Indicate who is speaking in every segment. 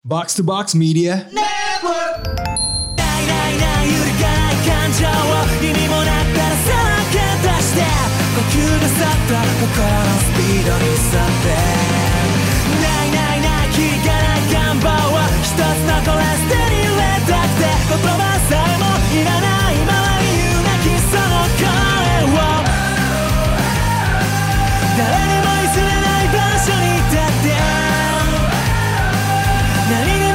Speaker 1: Box to Box Media.
Speaker 2: Dai dai dai 揺るがない感情を意味もなったらさらけ出して呼吸が去った心のスピードに沿ってないないない聞かない願望を一つ残らず手に入れたくて言葉さえもいらないままに言うなきその声を誰にも譲れない場所に立って何にも変え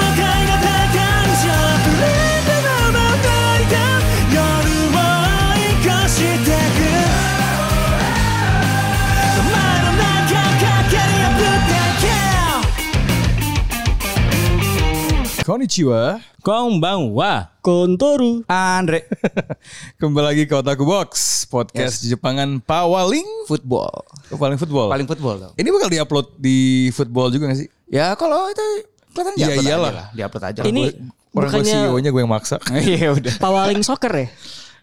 Speaker 2: 難い感情フレンドの問題だ夜を追い越してく前の中駆け破ってけ
Speaker 1: Konnichiwa.
Speaker 3: Konbanwa
Speaker 4: Kontoru.
Speaker 1: Andre. Kembali lagi ke Otaku Box. Podcast Jepangan Pawaling.
Speaker 4: Football.
Speaker 1: Paling football.
Speaker 4: Paling football dong.
Speaker 1: Ini bakal diupload di football juga gak sih?
Speaker 4: Ya kalau itu kelihatan
Speaker 1: Iya,
Speaker 4: di-upload
Speaker 1: iyalah.
Speaker 4: aja lah. Di-upload aja lah.
Speaker 3: Ini
Speaker 1: Orang gue
Speaker 4: E
Speaker 3: bukannya
Speaker 1: CEO-nya gue yang maksa.
Speaker 4: Iya udah.
Speaker 3: Pawaling Soccer ya?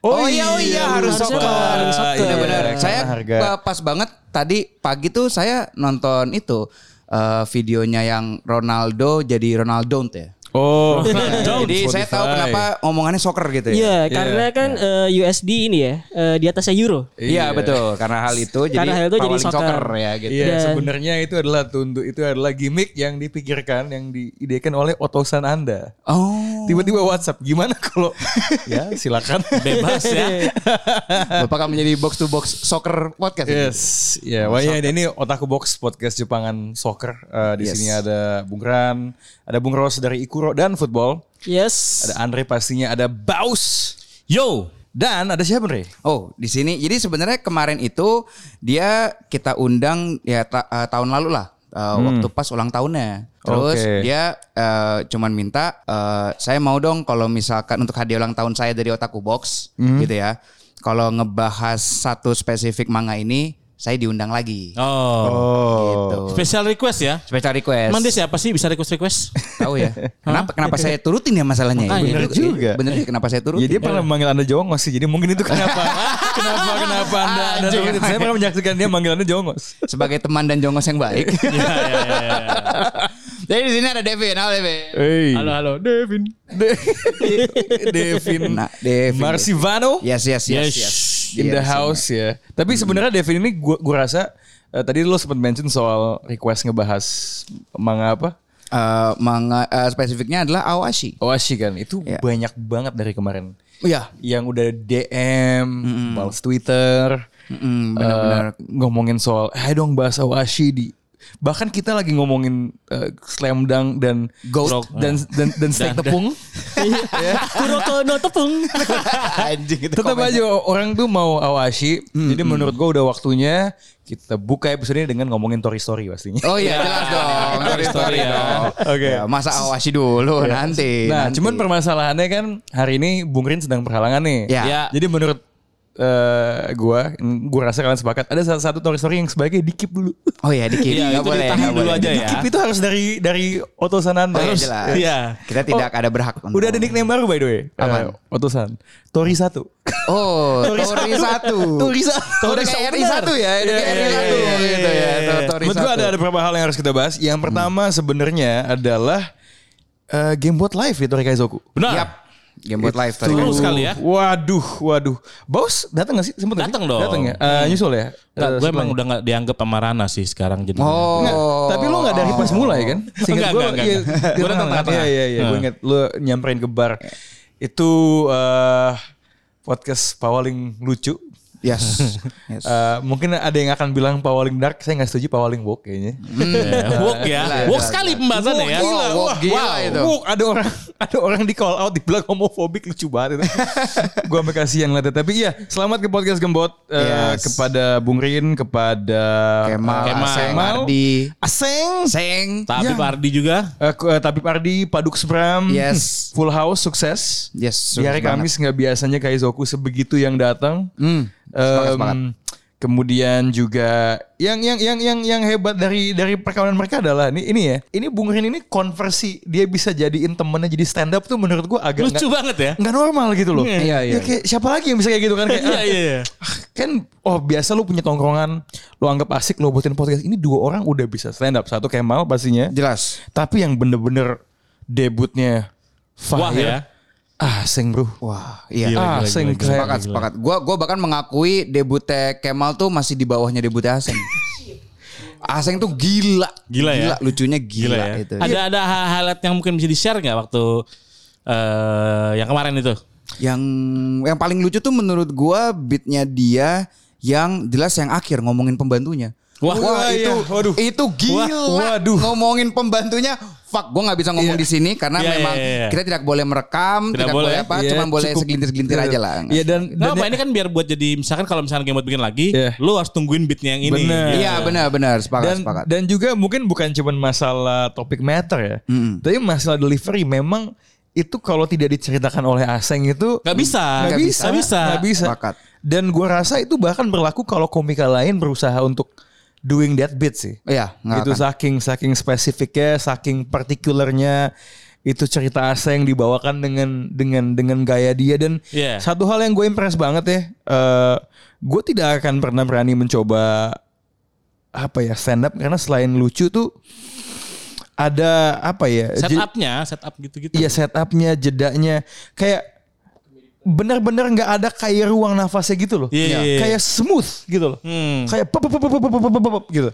Speaker 4: Oh, iya, oh iya, harus
Speaker 3: Harusnya
Speaker 4: soccer.
Speaker 3: Pawaling Soccer.
Speaker 4: Iya benar.
Speaker 1: karena
Speaker 4: Saya
Speaker 1: harga.
Speaker 4: pa- pas banget tadi pagi tuh saya nonton itu eh, videonya yang Ronaldo jadi Ronaldo ya.
Speaker 1: Oh.
Speaker 4: Jadi saya tahu
Speaker 1: Spotify.
Speaker 4: kenapa omongannya soccer gitu ya.
Speaker 3: Nah, Iya, karena kan eh, USD ini ya, eh, di atasnya euro.
Speaker 4: Iya betul karena hal itu jadi
Speaker 3: Karena hal itu jadi
Speaker 4: pawaling
Speaker 3: soccer.
Speaker 4: ya gitu.
Speaker 1: Iya,
Speaker 3: Dan-
Speaker 1: sebenarnya itu adalah tunduk itu adalah gimmick yang dipikirkan, yang diidekan oleh otosan Anda.
Speaker 4: Oh.
Speaker 1: Tiba-tiba WhatsApp, gimana kalau ya silakan.
Speaker 3: Bebas ya.
Speaker 4: Bapak akan menjadi box to box soccer podcast. ini?
Speaker 1: Yes, ya. Wah, ya, ini Otaku Box podcast Jepangan soccer. Eh, di
Speaker 4: Yes.
Speaker 1: sini ada Bung Ran, ada Bung Ros dari Ikuro dan football,
Speaker 3: Yes.
Speaker 1: ada Andre pastinya, ada Baus
Speaker 3: Yo.
Speaker 1: dan ada siapa Andre?
Speaker 4: Oh, di sini. Jadi sebenarnya kemarin itu dia kita undang ya ta- eh, tahun lalu lah. Eh, waktu pas ulang tahunnya. Terus
Speaker 1: Oke.
Speaker 4: dia eh, cuman minta eh, saya mau dong kalau misalkan untuk hadiah ulang tahun saya dari Otaku Box gitu ya. Kalau ngebahas satu spesifik manga ini, saya diundang lagi.
Speaker 3: Oh.
Speaker 4: Gitu.
Speaker 3: Special request ya.
Speaker 4: Special request.
Speaker 3: Emang dia siapa sih bisa request request?
Speaker 4: Tahu ya. Kenapa kenapa saya turutin ya masalahnya? ya?
Speaker 3: Makanya.
Speaker 4: Bener
Speaker 1: Bener juga.
Speaker 4: Bener juga kenapa saya turutin.
Speaker 1: Ya dia pernah manggil Anda jongos sih, jadi mungkin itu kenapa? kenapa kenapa Anda, anda
Speaker 4: Anjing.
Speaker 1: turutin? Saya pernah menyaksikan dia manggil Anda jongos.
Speaker 4: sebagai teman dan jongos yang baik. Jadi di sini ada Devin, halo Devin.
Speaker 1: Hey.
Speaker 4: Iya.
Speaker 3: Halo halo, Devin.
Speaker 1: Devin,
Speaker 4: Nah, Devin.
Speaker 1: Marsivano
Speaker 4: Yes, yes, yes, yes.
Speaker 1: in
Speaker 4: Yes,
Speaker 1: the house ya.
Speaker 4: Hmm.
Speaker 1: Tapi sebenarnya Devin ini gua gua rasa eh, tadi lo sempat mention soal request ngebahas manga apa?
Speaker 4: Eh, manga- eh, spesifiknya adalah Awashi.
Speaker 1: Oashi kan. Itu
Speaker 4: Iya.
Speaker 1: banyak banget dari kemarin.
Speaker 4: Iya.
Speaker 1: Yang udah DM, balas Twitter,
Speaker 4: Mm, benar-benar.
Speaker 1: eh, ngomongin soal eh dong bahasa Oashi di bahkan kita lagi ngomongin eh, slam dunk dan
Speaker 4: Goat.
Speaker 1: dan dan, dan steak tepung
Speaker 3: Kuroko no Iya. tepung.
Speaker 4: Anjing itu.
Speaker 1: Tetap
Speaker 4: komen.
Speaker 1: aja orang tuh mau awashi. jadi menurut gua udah waktunya kita buka episode ini dengan ngomongin Tori Story pastinya.
Speaker 4: Oh iya, jelas dong. Sorry, sorry
Speaker 1: ya.
Speaker 4: dong.
Speaker 1: Oke.
Speaker 4: Ya, masa Awashi dulu nanti.
Speaker 1: Nah,
Speaker 4: nanti.
Speaker 1: cuman permasalahannya kan hari ini Bung Rin sedang perhalangan nih.
Speaker 4: Ya.
Speaker 3: Ya.
Speaker 1: Jadi menurut eh gua, gua rasa kalian sepakat ada salah satu Tori Story yang sebaiknya dikip dulu.
Speaker 4: Oh iya, dikit. Nggak
Speaker 3: Iya, itu
Speaker 4: boleh.
Speaker 3: ditahan
Speaker 4: nggak
Speaker 3: dulu
Speaker 4: boleh.
Speaker 3: aja ya.
Speaker 1: Dikip itu harus dari dari otosan Anda.
Speaker 4: Oh, iya,
Speaker 1: Harus.
Speaker 4: jelas.
Speaker 3: Iya.
Speaker 4: Kita tidak ada berhak. untuk-
Speaker 1: Udah ada nickname baru by the way.
Speaker 4: Apaan?
Speaker 1: Eh, otosan. Tori satu.
Speaker 4: Oh, Tori satu.
Speaker 1: Tori satu. Iya,
Speaker 4: Udah kayak RI satu ya, udah kayak RI satu gitu ya. Tori
Speaker 1: Menurut gue
Speaker 4: satu.
Speaker 1: ada, ada beberapa hal yang harus kita bahas. Yang pertama sebenarnya adalah eh, game buat live di Tori Kaizoku.
Speaker 3: Benar.
Speaker 4: Yap. Game buat live tadi.
Speaker 3: Seru sekali ya.
Speaker 1: Waduh, waduh. Baus datang gak sih? Sempet nggak sih?
Speaker 3: Datang dong. Hmm.
Speaker 1: Datang ya? Eh, nyusul ya?
Speaker 3: Nggak,
Speaker 1: Eh,
Speaker 3: gue
Speaker 1: setelah-
Speaker 3: emang udah gak dianggap sama Rana sih sekarang jadi.
Speaker 4: Oh.
Speaker 1: Nggak, tapi lo gak dari pas mulai kan?
Speaker 3: Enggak,
Speaker 1: gue,
Speaker 3: enggak,
Speaker 1: iya, iya,
Speaker 3: enggak. Gue
Speaker 1: tengah-tengah.
Speaker 3: datang tengah-tengah.
Speaker 1: Iya, iya, iya. Gue
Speaker 3: Nah.
Speaker 1: inget lo nyamperin ke bar. Itu eh, podcast paling lucu.
Speaker 4: Yes. yes.
Speaker 1: Eh, mungkin ada yang akan bilang paling dark, saya nggak setuju paling woke kayaknya.
Speaker 3: Ya, Woke ya.
Speaker 4: Gila,
Speaker 3: Woke
Speaker 4: gila,
Speaker 3: sekali pembahasannya ya.
Speaker 4: gila, woke gila itu.
Speaker 1: Wow, woke. ada orang ada orang di call out dibilang homofobik lucu banget itu. Gua sampe kasihan ngeliatnya. Tapi iya, selamat ke podcast Gembot eh,
Speaker 4: Yes.
Speaker 1: kepada Bung Rin, kepada
Speaker 4: Kemal,
Speaker 1: Kemal,
Speaker 4: Aseng,
Speaker 1: Kemal,
Speaker 4: Ardi.
Speaker 1: Aseng,
Speaker 4: Seng.
Speaker 3: Tapi
Speaker 1: Ya.
Speaker 3: Pardi juga.
Speaker 1: eh, Ku- eh, Tabib Ardi, Paduk Subram,
Speaker 4: Yes.
Speaker 1: Full House sukses.
Speaker 4: Yes,
Speaker 1: Di hari
Speaker 4: sukses banget.
Speaker 1: Kamis nggak biasanya Kaizoku sebegitu yang datang.
Speaker 4: Hmm. Semangat,
Speaker 1: Em,
Speaker 4: semangat.
Speaker 1: Kemudian juga yang yang yang yang yang hebat dari dari perkawinan mereka adalah ini ini ya. Ini Bung Rin ini konversi dia bisa jadiin temennya jadi stand up tuh menurut gua agak
Speaker 3: Lucu
Speaker 1: nggak-
Speaker 3: banget ya.
Speaker 1: nggak normal gitu loh.
Speaker 4: Iya,
Speaker 1: Ya
Speaker 4: iya.
Speaker 1: kayak siapa lagi yang bisa kayak gitu kan kayak
Speaker 3: Iya,
Speaker 1: ah,
Speaker 3: iya. iya.
Speaker 1: ah, kan oh biasa lu punya tongkrongan, lu anggap asik lu buatin podcast. Ini dua orang udah bisa stand up. Satu Kemal pastinya.
Speaker 4: Jelas.
Speaker 1: Tapi yang bener-bener debutnya Fire.
Speaker 5: Wah ya.
Speaker 1: Asing bro. Ah,
Speaker 4: Wah, iya.
Speaker 5: Gila, gila,
Speaker 1: Asing
Speaker 5: gila, gila.
Speaker 1: keren.
Speaker 4: Sepakat, sepakat. Gua gua bahkan mengakui debutnya Kemal tuh masih di bawahnya debutnya Aseng. Aseng tuh gila.
Speaker 5: Gila ya?
Speaker 4: lucunya gila,
Speaker 1: Iya,
Speaker 5: Gila ya.
Speaker 4: itu.
Speaker 5: Ada ada hal- highlight yang mungkin bisa di-share nggak waktu eh yang kemarin itu?
Speaker 4: Yang yang paling lucu tuh menurut gua beatnya dia yang jelas yang akhir ngomongin pembantunya.
Speaker 5: Wah,
Speaker 1: iya.
Speaker 4: itu
Speaker 1: Waduh.
Speaker 4: itu gila.
Speaker 1: Wah, waduh.
Speaker 4: Ngomongin pembantunya, fuck, gua nggak bisa ngomong di sini karena
Speaker 5: Iya,
Speaker 4: memang
Speaker 5: iya, iya.
Speaker 4: kita tidak boleh merekam, tidak,
Speaker 5: Tidak
Speaker 4: boleh
Speaker 5: boleh.
Speaker 4: apa,
Speaker 1: Iya,
Speaker 4: cuma boleh
Speaker 1: cukup.
Speaker 4: segelintir-segelintir aja lah.
Speaker 1: Iya dan
Speaker 5: Nggak
Speaker 1: dan
Speaker 5: apa ini kan biar buat jadi misalkan kalau misalkan game bikin lagi,
Speaker 1: Iya.
Speaker 5: lu harus tungguin beatnya yang ini.
Speaker 1: Bener.
Speaker 4: Iya, benar-benar sepakat,
Speaker 1: dan,
Speaker 4: sepakat.
Speaker 1: dan juga mungkin bukan cuman masalah topik matter ya.
Speaker 4: Mm-mm.
Speaker 1: Tapi masalah delivery memang itu kalau tidak diceritakan oleh Aseng itu
Speaker 5: Gak bisa.
Speaker 1: nggak
Speaker 4: Nggak
Speaker 1: bisa,
Speaker 5: Nggak bisa.
Speaker 1: nggak bisa.
Speaker 4: Sepakat.
Speaker 1: Dan gua rasa itu bahkan berlaku kalau komika lain berusaha untuk doing that bit sih.
Speaker 4: Iya,
Speaker 1: itu
Speaker 4: nggak akan.
Speaker 1: Gitu, saking saking spesifiknya, saking partikulernya itu cerita Aseng dibawakan dengan dengan dengan gaya dia dan
Speaker 5: Iya.
Speaker 1: satu hal yang gue impress banget ya, gue tidak akan pernah berani mencoba apa ya stand up karena selain lucu tuh ada apa ya je-
Speaker 5: Setupnya, setup gitu-gitu.
Speaker 1: Iya setupnya, jedanya, kayak benar-benar nggak ada kayak ruang nafasnya gitu loh.
Speaker 5: Iya, iya, iya.
Speaker 1: Kayak smooth gitu loh.
Speaker 5: Hmm.
Speaker 1: Kayak pop, pop, pop, pop, pop, pop, pop, pop, gitu.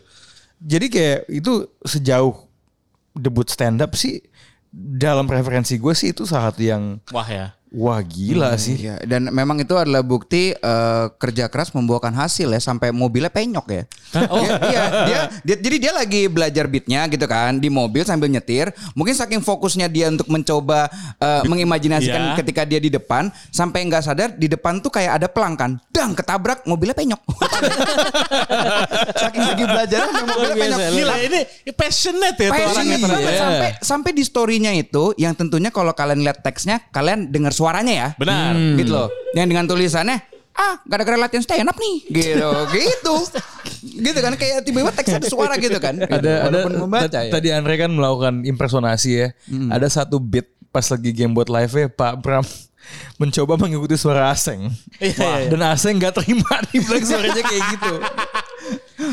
Speaker 1: Jadi kayak itu sejauh debut stand up sih dalam preferensi gue sih itu saat yang
Speaker 5: Wah ya.
Speaker 1: wah gila
Speaker 5: Hmm.
Speaker 1: sih.
Speaker 4: Iya, dan memang itu adalah bukti eh, kerja keras membuahkan hasil ya sampai mobilnya penyok ya.
Speaker 1: Kan, oh.
Speaker 4: Iya, iya, dia, dia jadi dia lagi belajar beatnya gitu kan di mobil sambil nyetir. Mungkin saking fokusnya dia untuk mencoba eh, mengimajinasikan
Speaker 5: Iya.
Speaker 4: ketika dia di depan sampai nggak sadar di depan tuh kayak ada pelang kan. Dang ketabrak mobilnya penyok. saking lagi belajar mobilnya penyok.
Speaker 5: Gila ini passionate ya tuh
Speaker 4: Passion
Speaker 5: orangnya
Speaker 4: banget.
Speaker 5: ternyata.
Speaker 4: sampai sampai di storynya itu yang tentunya kalau kalian lihat teksnya kalian dengar suaranya ya
Speaker 5: Benar.
Speaker 4: gitu loh. Yang dengan tulisannya ah gara-gara latihan stand up nih gitu gitu gitu kan kayak tiba-tiba teksnya ada suara gitu kan
Speaker 1: Ada ada
Speaker 4: Walaupun membaca
Speaker 1: ta-
Speaker 4: ya.
Speaker 1: tadi Andre kan melakukan impersonasi ya.
Speaker 5: Hmm.
Speaker 1: Ada satu beat pas lagi game buat live ya Pak Bram mencoba mengikuti suara Aseng.
Speaker 5: Iya,
Speaker 1: Wah,
Speaker 5: iya, iya.
Speaker 1: Dan Aseng nggak terima dibilang suaranya kayak gitu.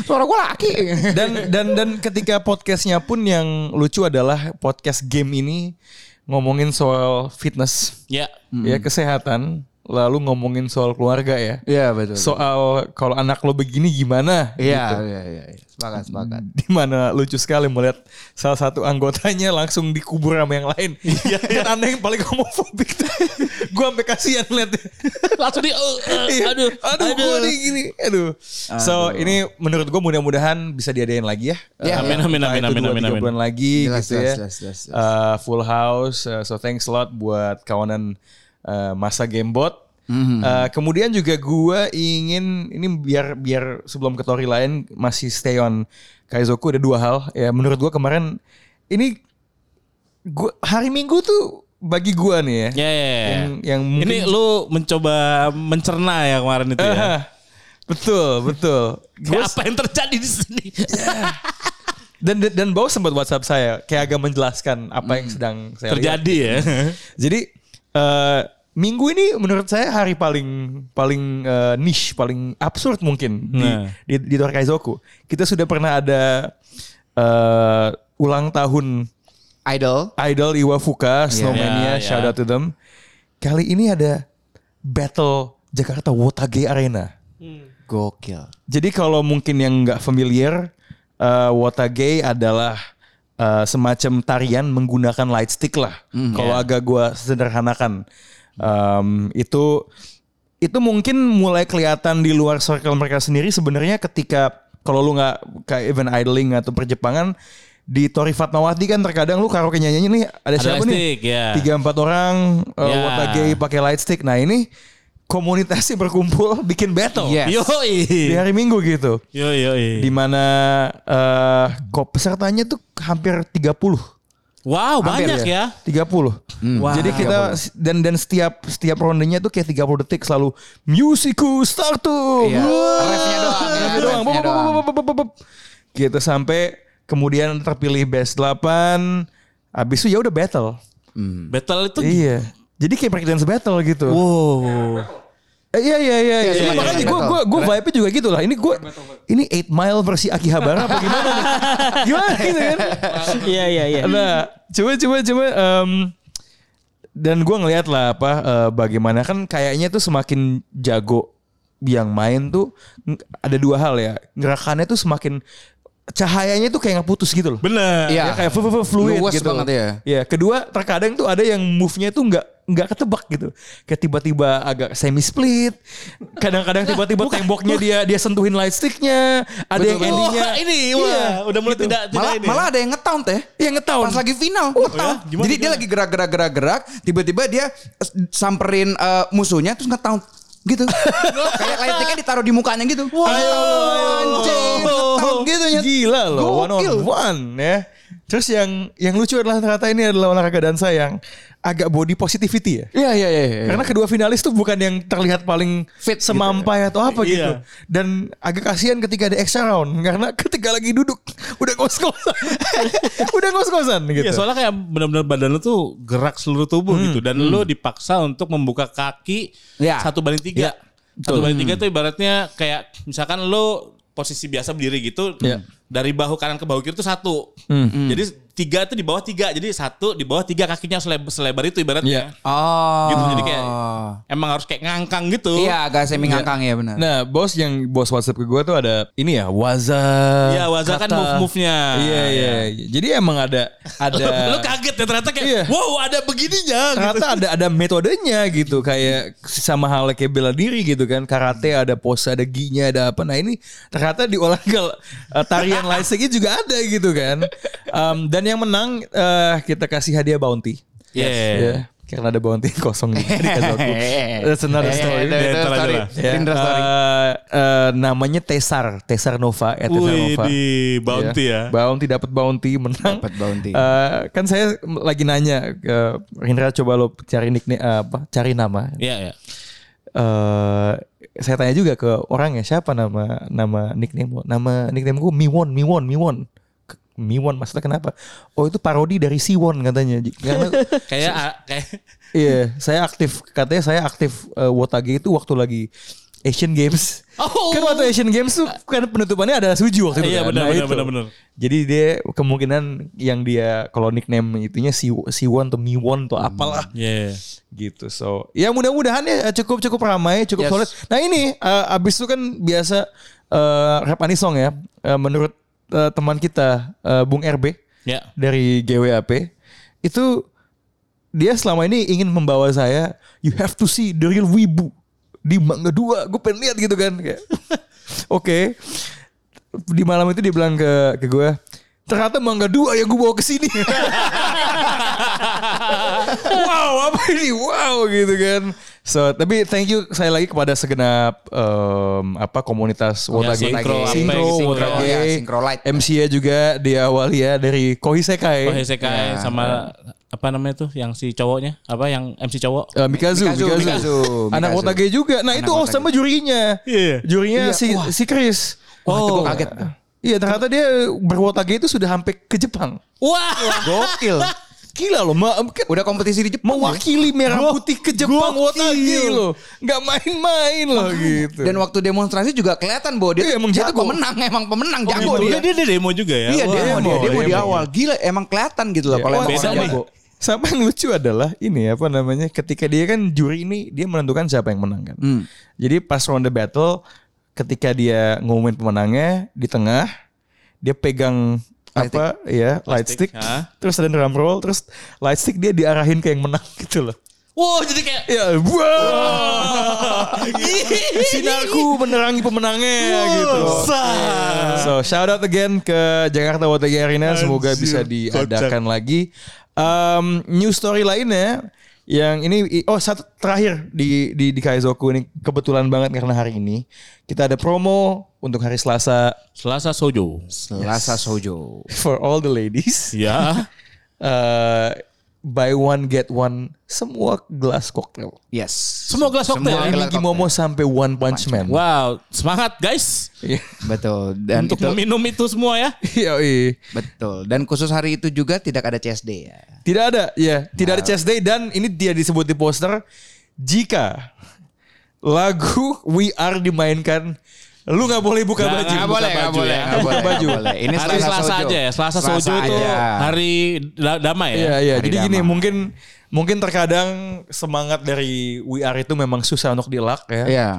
Speaker 4: suara gue laki
Speaker 1: dan dan dan ketika podcastnya pun yang lucu adalah podcast game ini ngomongin soal fitness
Speaker 5: Ya.
Speaker 1: ya kesehatan lalu ngomongin soal keluarga ya
Speaker 4: iya betul
Speaker 1: soal kalau anak lo begini gimana
Speaker 4: iya iya iya iya. sepakat sepakat
Speaker 1: dimana lucu sekali melihat salah satu anggotanya langsung dikubur sama yang lain dan anda yang paling homofobik gue sampai kasihan liatnya
Speaker 5: Langsung di uh, uh,
Speaker 1: Iya.
Speaker 5: aduh.
Speaker 1: aduh, gua nih gini, aduh. So ini menurut gue mudah-mudahan bisa diadain lagi ya. Eh,
Speaker 4: Ya,
Speaker 5: amin, amin,
Speaker 1: entah
Speaker 5: amin,
Speaker 1: itu
Speaker 5: amin,
Speaker 1: dua,
Speaker 5: amin,
Speaker 1: tiga
Speaker 5: amin.
Speaker 1: bulan lagi
Speaker 4: Jelas,
Speaker 1: gitu
Speaker 4: jelas,
Speaker 1: ya.
Speaker 4: jelas, jelas, jelas.
Speaker 1: Eh, full house, eh, so thanks a lot buat kawanan eh, masa gamebot.
Speaker 4: Mhm.
Speaker 1: Eh, kemudian juga gue ingin ini biar biar sebelum ke Tori lain masih stay on Kaizoku ada dua hal ya menurut gue kemarin ini gua hari Minggu tuh bagi gue nih ya
Speaker 5: Ya, ya, ya.
Speaker 1: yang yang mungkin-
Speaker 5: Ini lu mencoba mencerna ya kemarin itu ya.
Speaker 1: Ah, betul, betul.
Speaker 5: Ya,
Speaker 1: Gua-
Speaker 5: apa yang terjadi di sini?
Speaker 1: dan dan Bau sempat WhatsApp saya kayak agak menjelaskan apa
Speaker 5: Hmm.
Speaker 1: yang sedang saya lihat.
Speaker 5: terjadi ya.
Speaker 1: Jadi eh, minggu ini menurut saya hari paling paling eh, niche, paling absurd mungkin di
Speaker 5: Nah.
Speaker 1: di, di Dorkaizoku. Kita sudah pernah ada eh, ulang tahun
Speaker 4: idol
Speaker 1: Idol Iwafuka, Snowmania,
Speaker 5: Ya, ya.
Speaker 1: shout out to them. Kali ini ada Battle Jakarta Wotage Arena.
Speaker 4: gokil
Speaker 1: Jadi kalau mungkin yang nggak familiar, eh, Watage adalah eh, semacam tarian menggunakan light stick lah.
Speaker 5: Hmm,
Speaker 1: kalau
Speaker 5: ya.
Speaker 1: agak gua sederhanakan, Em, itu itu mungkin mulai kelihatan di luar circle mereka sendiri sebenarnya ketika kalau lu nggak kayak event idling atau perjepangan di Tori Fatmawati kan terkadang lu karaoke nyanyi nih ada,
Speaker 5: Ada
Speaker 1: siapa
Speaker 5: light
Speaker 1: nih
Speaker 5: stick, ya.
Speaker 1: tiga empat orang eh,
Speaker 5: Ya.
Speaker 1: Watage pakai light stick. Nah ini komunitasnya berkumpul bikin battle
Speaker 5: Iya.
Speaker 4: Yes.
Speaker 1: di
Speaker 4: Iya.
Speaker 5: Yoi.
Speaker 1: hari Minggu gitu.
Speaker 5: Yoi, yoi.
Speaker 1: Di mana eh kok pesertanya tuh hampir 30.
Speaker 5: Wow,
Speaker 4: Hampir
Speaker 5: banyak ya.
Speaker 1: 30.
Speaker 4: Hmm.
Speaker 1: Jadi kita dan dan setiap setiap rondenya tuh kayak 30 detik selalu musiku start tuh.
Speaker 4: Iya.
Speaker 1: Wah.
Speaker 4: Refnya doang, iya,
Speaker 1: Refnya doang.
Speaker 4: refnya
Speaker 1: Bop, bop,
Speaker 4: doang.
Speaker 1: bop, bop, bop, bop, bop. Gitu sampai kemudian terpilih best 8. Habis itu ya udah battle.
Speaker 4: Hmm.
Speaker 5: Battle itu Oh.
Speaker 1: Iya. Jadi kayak breakdance battle gitu.
Speaker 5: Wow.
Speaker 1: Eh, Iya iya iya. iya.
Speaker 4: semacam
Speaker 1: Makanya
Speaker 4: heavy
Speaker 1: gue
Speaker 4: metal.
Speaker 1: gue gue vibe-nya juga gitu lah. Ini gue ini 8 Mile versi Akihabara apa gimana nih? Gimana gitu kan?
Speaker 3: Iya iya iya.
Speaker 1: Nah, coba coba coba em, dan gue ngeliat lah apa eh, bagaimana kan kayaknya tuh semakin jago yang main tuh ng- ada dua hal ya gerakannya tuh semakin cahayanya tuh kayak nggak putus gitu loh.
Speaker 5: Bener.
Speaker 4: Iya.
Speaker 1: Ya, kayak fu- fu- fu- fluid
Speaker 4: Luas
Speaker 1: gitu.
Speaker 4: banget ya.
Speaker 1: Iya, kedua terkadang tuh ada yang move-nya tuh nggak nggak ketebak gitu. Kayak tiba-tiba agak semi split. Kadang-kadang tiba-tiba temboknya dia dia sentuhin light stick-nya, ada yang
Speaker 4: Nah, Betul, betul.
Speaker 1: endingnya
Speaker 5: Wah, ini wah, udah mulai tidak
Speaker 4: Iya.
Speaker 5: tidak
Speaker 4: Gitu. Malah,
Speaker 5: ini. ya?
Speaker 4: malah ada yang ngetown teh.
Speaker 1: yang ngetown.
Speaker 4: Pas lagi final, ngetown.
Speaker 5: Gimana,
Speaker 4: Jadi dia
Speaker 5: gimana?
Speaker 4: lagi gerak-gerak gerak-gerak, tiba-tiba dia eh, samperin eh, musuhnya terus ngetown gitu. Kayak lightingnya ditaruh di mukanya gitu. Wow, anjing, ngetown gitu ya.
Speaker 1: Gila loh, one on
Speaker 4: Gokil.
Speaker 1: one ya. Terus yang yang lucu adalah ternyata ini adalah olahraga dansa yang agak body positivity ya.
Speaker 4: Iya, iya, iya. iya.
Speaker 1: Karena kedua finalis tuh bukan yang terlihat paling
Speaker 4: Fit gitu
Speaker 1: semampai atau apa gitu.
Speaker 5: Iya.
Speaker 1: Dan agak kasihan ketika ada extra round karena ketika lagi duduk udah ngos-ngosan. udah ngos-ngosan gitu.
Speaker 5: Iya, soalnya kayak benar-benar badan lu tuh gerak seluruh tubuh
Speaker 4: Hmm.
Speaker 5: gitu dan lu dipaksa untuk membuka kaki
Speaker 4: Ya.
Speaker 5: satu banding tiga. Satu banding
Speaker 4: Hmm.
Speaker 5: tiga tuh ibaratnya kayak misalkan lu posisi biasa berdiri gitu
Speaker 1: Ya.
Speaker 4: Iya.
Speaker 5: dari bahu kanan ke bahu kiri tuh satu.
Speaker 1: Hmm.
Speaker 5: Jadi tiga tuh di bawah tiga, jadi satu di bawah tiga kakinya selebar, selebar itu
Speaker 1: Iya.
Speaker 5: ibaratnya.
Speaker 4: Oh.
Speaker 5: Gitu, jadi kayak emang harus kayak ngangkang gitu.
Speaker 4: Iya, agak semi ngangkang ya benar.
Speaker 1: Nah, bos yang bos WhatsApp ke gue tuh ada ini ya, Waza.
Speaker 5: Iya, Waza kan
Speaker 1: kata.
Speaker 5: move-move-nya.
Speaker 1: Iya, iya. Jadi emang ada ada
Speaker 5: lu kaget ya ternyata kayak
Speaker 1: Iya.
Speaker 5: wow ada begininya gitu.
Speaker 1: ternyata ada ada metodenya gitu kayak sama halnya kayak bela diri gitu kan karate ada pose ada ginya ada apa nah ini ternyata di olahraga eh, tarian lightsticknya juga ada gitu kan Em, dan yang menang eh, kita kasih hadiah bounty
Speaker 5: Iya.
Speaker 1: Ya, karena ada bounty kosong di di kazoku. That's another
Speaker 4: Iya,
Speaker 1: story.
Speaker 5: Eh. itu- itu story.
Speaker 1: Ya,
Speaker 4: Ah.
Speaker 1: eh, eh, namanya Tesar, Tesar Nova, eh, Tesar
Speaker 5: Wih,
Speaker 1: Nova.
Speaker 5: di bounty
Speaker 1: Iya.
Speaker 5: ya.
Speaker 1: Bounty dapat bounty menang.
Speaker 4: Dapat bounty.
Speaker 1: Eh, kan saya lagi nanya ke Rindra coba lo cari nickname eh, apa? Cari nama. Eh
Speaker 5: Iya, iya.
Speaker 1: saya tanya juga ke orang ya siapa nama nama nickname lo? Nama nickname gue Miwon, Miwon, Miwon. Ke- Miwon maksudnya kenapa? Oh itu parodi dari Siwon katanya. J- Karena
Speaker 5: Kayak ah, kayak
Speaker 1: iya, saya aktif katanya saya aktif eh, Wotage itu waktu lagi Asian Games.
Speaker 5: Oh.
Speaker 1: Kan waktu Asian Games tuh kan penutupannya ada Suju waktu itu.
Speaker 5: Iya,
Speaker 1: kan?
Speaker 5: benar,
Speaker 1: Nah,
Speaker 5: benar,
Speaker 1: itu.
Speaker 5: benar, benar.
Speaker 1: Jadi dia kemungkinan yang dia kalau nickname itunya si Siwon atau Miwon atau apalah
Speaker 5: Iya.
Speaker 1: gitu. So, ya mudah-mudahan ya cukup cukup ramai, cukup
Speaker 4: Yes.
Speaker 1: solid. Nah, ini eh, abis itu kan biasa eh, rap anisong ya. Eh, menurut eh, teman kita eh, Bung RB
Speaker 5: Ya.
Speaker 1: dari GWAP itu dia selama ini ingin membawa saya you have to see the real wibu di manga 2 gue pengen lihat gitu kan kayak oke di malam itu dia bilang ke ke gue ternyata mangga 2 yang gue bawa ke sini wow apa ini wow gitu kan so tapi thank you saya lagi kepada segenap em, apa komunitas Wotage
Speaker 5: Sinkro, apa
Speaker 1: Sinkro,
Speaker 5: yang-
Speaker 1: Wotage
Speaker 4: Sinkro, ya, Sinkro Light.
Speaker 1: MC nya juga diawali ya dari Kohisekai
Speaker 5: Oh, Hesekai sama apa namanya tuh yang si cowoknya? Apa yang MC cowok?
Speaker 1: Eh, Mikazu,
Speaker 4: Mikazu,
Speaker 1: Mikazu,
Speaker 4: Mikazu,
Speaker 1: Anak
Speaker 4: Mikazu.
Speaker 1: Otage juga. Nah itu oh sama jurinya.
Speaker 5: Iya.
Speaker 1: Jurinya si si Chris.
Speaker 4: Oh. Wah, itu gua kaget.
Speaker 1: Iya ternyata dia berwotage itu sudah hampir ke Jepang.
Speaker 5: Wah.
Speaker 1: Gokil. Gila loh. Ma kan
Speaker 4: Udah kompetisi di Jepang. ya.
Speaker 1: mewakili merah putih ke Jepang Wotage loh. Gak main-main loh gitu.
Speaker 4: Dan waktu demonstrasi juga kelihatan bahwa
Speaker 1: Iya,
Speaker 4: dia
Speaker 1: emang
Speaker 4: dia tuh
Speaker 1: jago.
Speaker 4: pemenang, emang pemenang jago
Speaker 5: Oh,
Speaker 4: dia.
Speaker 5: dia, dia, dia demo juga ya.
Speaker 4: Iya,
Speaker 5: Wah.
Speaker 4: demo, dia, demo di awal. Gila, emang kelihatan gitu loh kalau
Speaker 1: Wah,
Speaker 4: emang
Speaker 5: beda
Speaker 4: orang
Speaker 5: nih.
Speaker 4: jago.
Speaker 1: Sama yang lucu adalah ini apa namanya ketika dia kan juri ini dia menentukan siapa yang menang kan.
Speaker 4: Hmm.
Speaker 1: Jadi pas ronde battle ketika dia ngumumin pemenangnya di tengah dia pegang apa ya light stick,
Speaker 5: ha?
Speaker 1: terus ada drum roll terus light stick dia diarahin ke yang menang gitu loh.
Speaker 5: Wow, jadi kayak
Speaker 1: Ya, wow. Sinarku menerangi pemenangnya gitu. loh. Uh, So shout out again ke Jakarta Water Arena semoga bisa diadakan lagi. Um, new story lainnya yang ini oh satu terakhir di di di Kaizoku ini kebetulan banget karena hari ini kita ada promo untuk hari Selasa
Speaker 5: Selasa Sojo.
Speaker 4: Selasa Sojo.
Speaker 1: for all the ladies.
Speaker 5: Ya.
Speaker 1: Uh, buy one get one semua gelas koktail.
Speaker 4: Yes.
Speaker 5: Semua gelas koktail.
Speaker 4: Semua
Speaker 1: Dari
Speaker 4: gelas
Speaker 1: Migi
Speaker 4: koktail.
Speaker 1: Momo sampai One Punch Man.
Speaker 5: Wow, semangat guys
Speaker 1: Iya.
Speaker 4: Betul. Dan
Speaker 5: untuk
Speaker 4: itu
Speaker 5: meminum itu semua ya.
Speaker 1: Yoi.
Speaker 4: betul. Dan khusus hari itu juga tidak ada CSD ya.
Speaker 1: Tidak
Speaker 4: Ah.
Speaker 1: ada, ya. Tidak ada chest day dan ini dia disebut di poster jika lagu We Are dimainkan, lu nggak boleh buka
Speaker 5: Nggak,
Speaker 1: baju.
Speaker 5: nggak
Speaker 4: Gak boleh,
Speaker 5: buka
Speaker 4: gak
Speaker 5: baju
Speaker 4: boleh,
Speaker 5: ya.
Speaker 4: gak boleh, nggak boleh. Ini
Speaker 5: hari Selasa,
Speaker 4: Sojo.
Speaker 5: aja ya. Selasa, Sojo tuh
Speaker 4: aja.
Speaker 5: hari da- damai ya.
Speaker 1: Iya iya.
Speaker 4: Hari
Speaker 1: Jadi gini
Speaker 4: Damai.
Speaker 1: mungkin mungkin terkadang semangat dari We Are itu memang susah untuk dielak ya.
Speaker 4: Iya.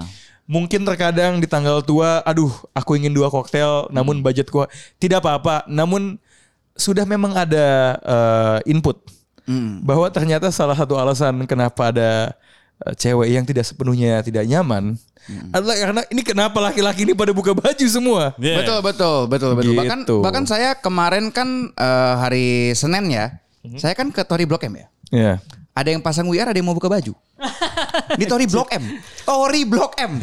Speaker 1: Mungkin terkadang di tanggal tua, aduh, aku ingin dua koktail, namun
Speaker 4: Hmm.
Speaker 1: budget gua tidak apa-apa. Namun sudah memang ada eh, input
Speaker 4: Hmm.
Speaker 1: bahwa ternyata salah satu alasan kenapa ada eh, cewek yang tidak sepenuhnya tidak nyaman adalah karena ini kenapa laki-laki ini pada buka baju semua.
Speaker 5: Iya.
Speaker 4: Betul, betul, betul, betul. Bahkan
Speaker 1: Gitu.
Speaker 4: bahkan saya kemarin kan eh, hari Senin ya.
Speaker 5: Mhm.
Speaker 4: Saya kan ke Tori Blok M ya.
Speaker 1: Iya.
Speaker 4: Ada yang pasang WR, ada yang mau buka baju. Di Tori Blok M. Tori Blok M.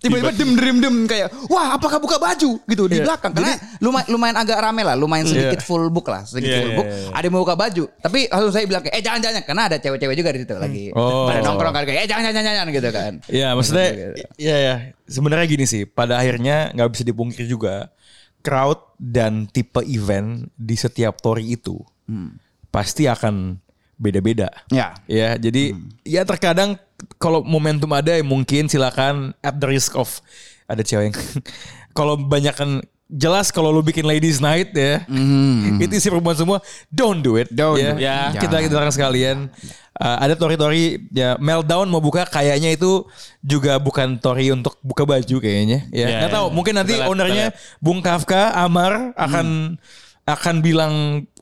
Speaker 4: Tiba-tiba dem dem dem kayak, "Wah, apakah buka baju?" gitu di
Speaker 1: Iya.
Speaker 4: belakang. Karena lumayan lumayan agak rame lah, lumayan sedikit
Speaker 1: Iya.
Speaker 4: full book lah, sedikit
Speaker 5: Iya,
Speaker 4: full
Speaker 5: iya,
Speaker 4: book.
Speaker 5: iya.
Speaker 4: Ada yang mau buka baju. Tapi langsung saya bilang kayak, "Eh, jangan jangan." Karena ada cewek-cewek juga di situ lagi.
Speaker 1: Oh.
Speaker 4: Pada nongkrong kan kayak, "Eh, jangan jangan jangan" gitu kan.
Speaker 1: Ya maksudnya ya ya sebenarnya gini sih pada akhirnya nggak bisa dipungkiri juga crowd dan tipe event di setiap tori itu pasti akan beda-beda.
Speaker 4: Ya.
Speaker 1: Ya jadi ya terkadang kalau momentum ada ya mungkin silakan at the risk of ada cewek yang kalau banyak kan jelas kalau lu bikin ladies night ya itu isi perempuan semua don't do it
Speaker 4: Hmm. Don't
Speaker 1: ya,
Speaker 4: do it.
Speaker 1: Ya,
Speaker 4: Jangan.
Speaker 1: kita kita larang sekalian Uh, ada tori-tori ya meltdown mau buka kayaknya itu juga bukan tori untuk buka baju kayaknya ya
Speaker 5: Ya,
Speaker 1: nggak tahu
Speaker 5: ya.
Speaker 1: mungkin nanti
Speaker 5: Kita lihat,
Speaker 1: ownernya
Speaker 5: kita
Speaker 1: Bung Kafka Amar akan akan bilang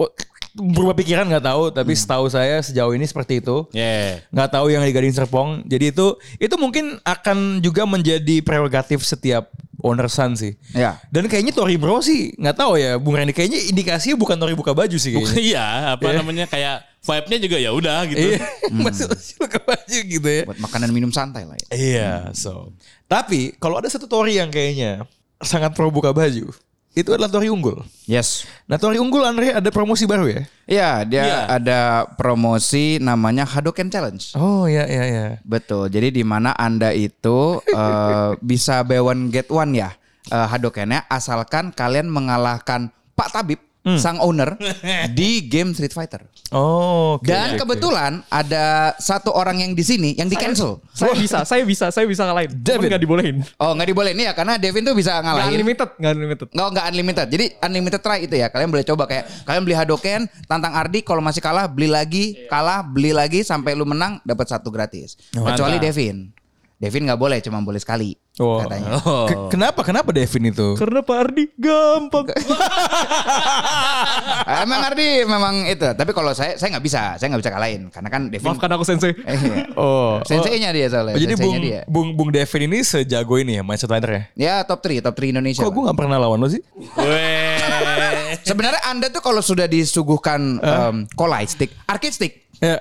Speaker 1: "Oh, berubah pikiran nggak tahu tapi setahu saya sejauh ini seperti itu
Speaker 5: Iya.
Speaker 1: nggak tahu yang di Gading Serpong. Jadi itu itu mungkin akan juga menjadi prerogatif setiap owner Sun sih.
Speaker 4: Ya.
Speaker 1: Dan kayaknya Tori Bro sih nggak tahu ya Bung Randy kayaknya indikasinya bukan Tori buka baju sih kayaknya.
Speaker 5: Bukan iya, apa
Speaker 1: Iya.
Speaker 5: namanya kayak vibe-nya juga ya udah gitu.
Speaker 1: Iya, maksudnya sih buka baju gitu ya.
Speaker 4: Buat makanan minum santai lah ya.
Speaker 1: Iya, so. Tapi kalau ada satu Tori yang kayaknya sangat pro buka baju, itu adalah Tori unggul.
Speaker 4: Yes.
Speaker 1: Nah Tori unggul Andre ada promosi baru ya?
Speaker 4: Iya, dia
Speaker 5: Iya.
Speaker 4: ada promosi namanya Hadoken Challenge.
Speaker 1: Oh iya iya iya.
Speaker 4: Betul. Jadi di mana Anda itu eh, bisa buy one get one ya. eh, Hadokennya asalkan kalian mengalahkan Pak Tabib, sang owner di game Street Fighter.
Speaker 1: Oh. oke,
Speaker 4: Dan
Speaker 1: oke.
Speaker 4: kebetulan ada satu orang yang di sini yang di cancel.
Speaker 6: Saya bisa, saya bisa, saya bisa ngalahin. Cuman
Speaker 1: David.
Speaker 6: nggak dibolehin.
Speaker 4: Oh, nggak dibolehin ya karena Devin tuh bisa
Speaker 6: Nggak
Speaker 4: ngalahin.
Speaker 6: unlimited, nggak unlimited.
Speaker 4: Nggak, nggak unlimited. Jadi unlimited try itu ya. Kalian boleh coba kayak kalian beli Hadoken, tantang Ardi kalau masih kalah beli lagi, kalah beli lagi sampai lu menang dapat satu gratis. Kecuali
Speaker 5: mantap.
Speaker 4: Devin. Devin nggak boleh, cuma boleh sekali
Speaker 1: Oh.
Speaker 4: katanya.
Speaker 1: Ke- Kenapa kenapa Devin itu?
Speaker 6: Karena Pak Ardi gampang.
Speaker 4: Ah, emang Ardi memang itu. Tapi kalau saya saya nggak bisa, saya nggak bisa kalahin karena kan Devin.
Speaker 6: Maafkan aku sensei.
Speaker 4: Eh, iya.
Speaker 1: Oh.
Speaker 4: Sensei-nya dia soalnya.
Speaker 1: Jadi
Speaker 4: sensei-nya
Speaker 1: Bung,
Speaker 4: dia.
Speaker 1: Bung Bung Devin ini sejago ini ya mindset liner ya.
Speaker 4: Ya top 3, top 3 Indonesia.
Speaker 1: Kok
Speaker 4: lah.
Speaker 1: gue gak pernah lawan lo sih?
Speaker 5: Weh.
Speaker 4: Sebenarnya Anda tuh kalau sudah disuguhkan
Speaker 1: Eh?
Speaker 4: em, kolai stick, arcade stick,
Speaker 1: Ya.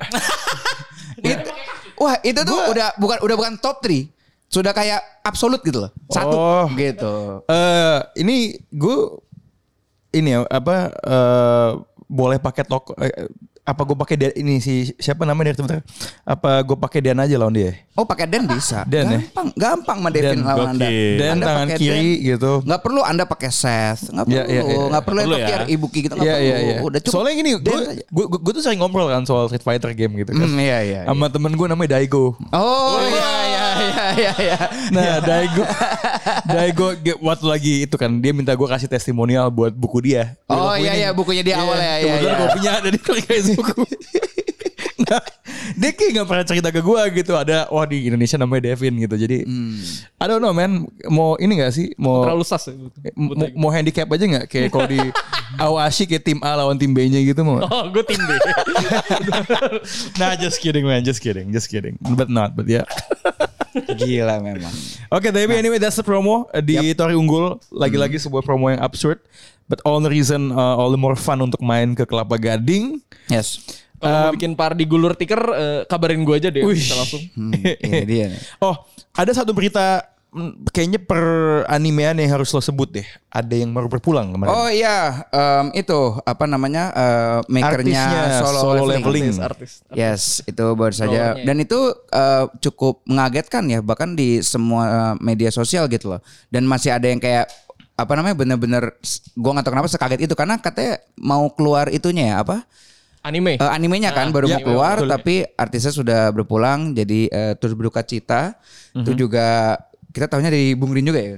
Speaker 1: Iya.
Speaker 4: It- wah itu tuh udah bukan udah bukan top 3 sudah kayak absolut gitu loh satu
Speaker 1: Oh.
Speaker 4: gitu
Speaker 1: Eh, ini gue ini ya apa eh, boleh pakai toko eh, apa gue pakai Dan- ini si siapa namanya dari Twitter? Apa gue pakai Dan aja lawan dia?
Speaker 4: oh pakai dan bisa
Speaker 1: Dan ya?
Speaker 4: gampang gampang mah Devin
Speaker 1: Dan,
Speaker 4: lawan anda
Speaker 5: gokil.
Speaker 1: Dan
Speaker 4: Anda
Speaker 1: tangan
Speaker 4: pakai
Speaker 1: kiri
Speaker 4: Dan.
Speaker 1: gitu.
Speaker 4: nggak perlu anda pakai Seth nggak perlu
Speaker 1: Ya, ya, ya.
Speaker 4: nggak perlu yang
Speaker 5: Perlu
Speaker 4: pakai
Speaker 5: ya.
Speaker 4: ibuki gitu nggak
Speaker 1: Iya
Speaker 4: perlu
Speaker 1: iya iya.
Speaker 4: udah cukup
Speaker 1: Soalnya gini,
Speaker 4: Dan saja.
Speaker 1: gue gue tuh sering ngobrol kan soal Street Fighter game gitu kan.
Speaker 4: Hmm, iya, iya,
Speaker 1: Sama temen gue namanya Daigo.
Speaker 4: oh iya iya iya iya iya
Speaker 1: Nah, Daigo Daigo ge- waktu lagi itu kan dia minta gue kasih testimonial buat buku dia. Dia buku
Speaker 4: Oh, iya,
Speaker 1: ini.
Speaker 4: iya, bukunya dia awal ya, iya,
Speaker 1: Kebetulan
Speaker 4: iya.
Speaker 1: kopinya ada di klikais buku. Nah, dia kayak gak pernah cerita ke gue gitu ada wah di Indonesia namanya Devin gitu jadi I don't know man mau ini gak sih mau
Speaker 6: Terlalu sas. ya.
Speaker 1: mau, mau handicap aja gak kayak kalau di awasi kayak tim A lawan tim B nya gitu mau
Speaker 6: Oh, gue tim B.
Speaker 1: nah just kidding man just kidding just kidding but not but yeah
Speaker 4: gila memang
Speaker 1: Oke, tapi
Speaker 4: Nah.
Speaker 1: anyway that's the promo uh, di Tori Unggul.
Speaker 4: Hmm.
Speaker 1: Lagi-lagi sebuah promo yang absurd, but all the reason uh, all the more fun untuk main ke Kelapa Gading.
Speaker 4: yes
Speaker 6: Kalau mau bikin Pak Ardi gulur tiker, eh, kabarin gue aja deh. Bisa langsung.
Speaker 4: Hmm, ini dia nih.
Speaker 1: Oh, ada satu berita mm, kayaknya per animean yang harus lo sebut deh. Ada yang baru berpulang kemarin.
Speaker 4: Oh iya, em, itu apa namanya eh, makernya
Speaker 1: Artisnya,
Speaker 4: solo,
Speaker 1: Solo
Speaker 4: leveling.
Speaker 1: Leveling.
Speaker 6: Artis.
Speaker 4: Yes, itu baru saja. Dan itu eh, cukup mengagetkan ya, bahkan di semua eh, media sosial gitu loh. Dan masih ada yang kayak apa namanya bener-bener, s- gua nggak tahu kenapa sekaget itu karena katanya mau keluar itunya ya apa?
Speaker 6: anime.
Speaker 4: Eh, animenya kan baru
Speaker 1: iya,
Speaker 4: mau keluar
Speaker 1: betul.
Speaker 4: tapi artisnya sudah berpulang jadi eh, turut berduka cita.
Speaker 1: Mhm.
Speaker 4: Itu juga kita tahunya dari Bung Rin juga ya.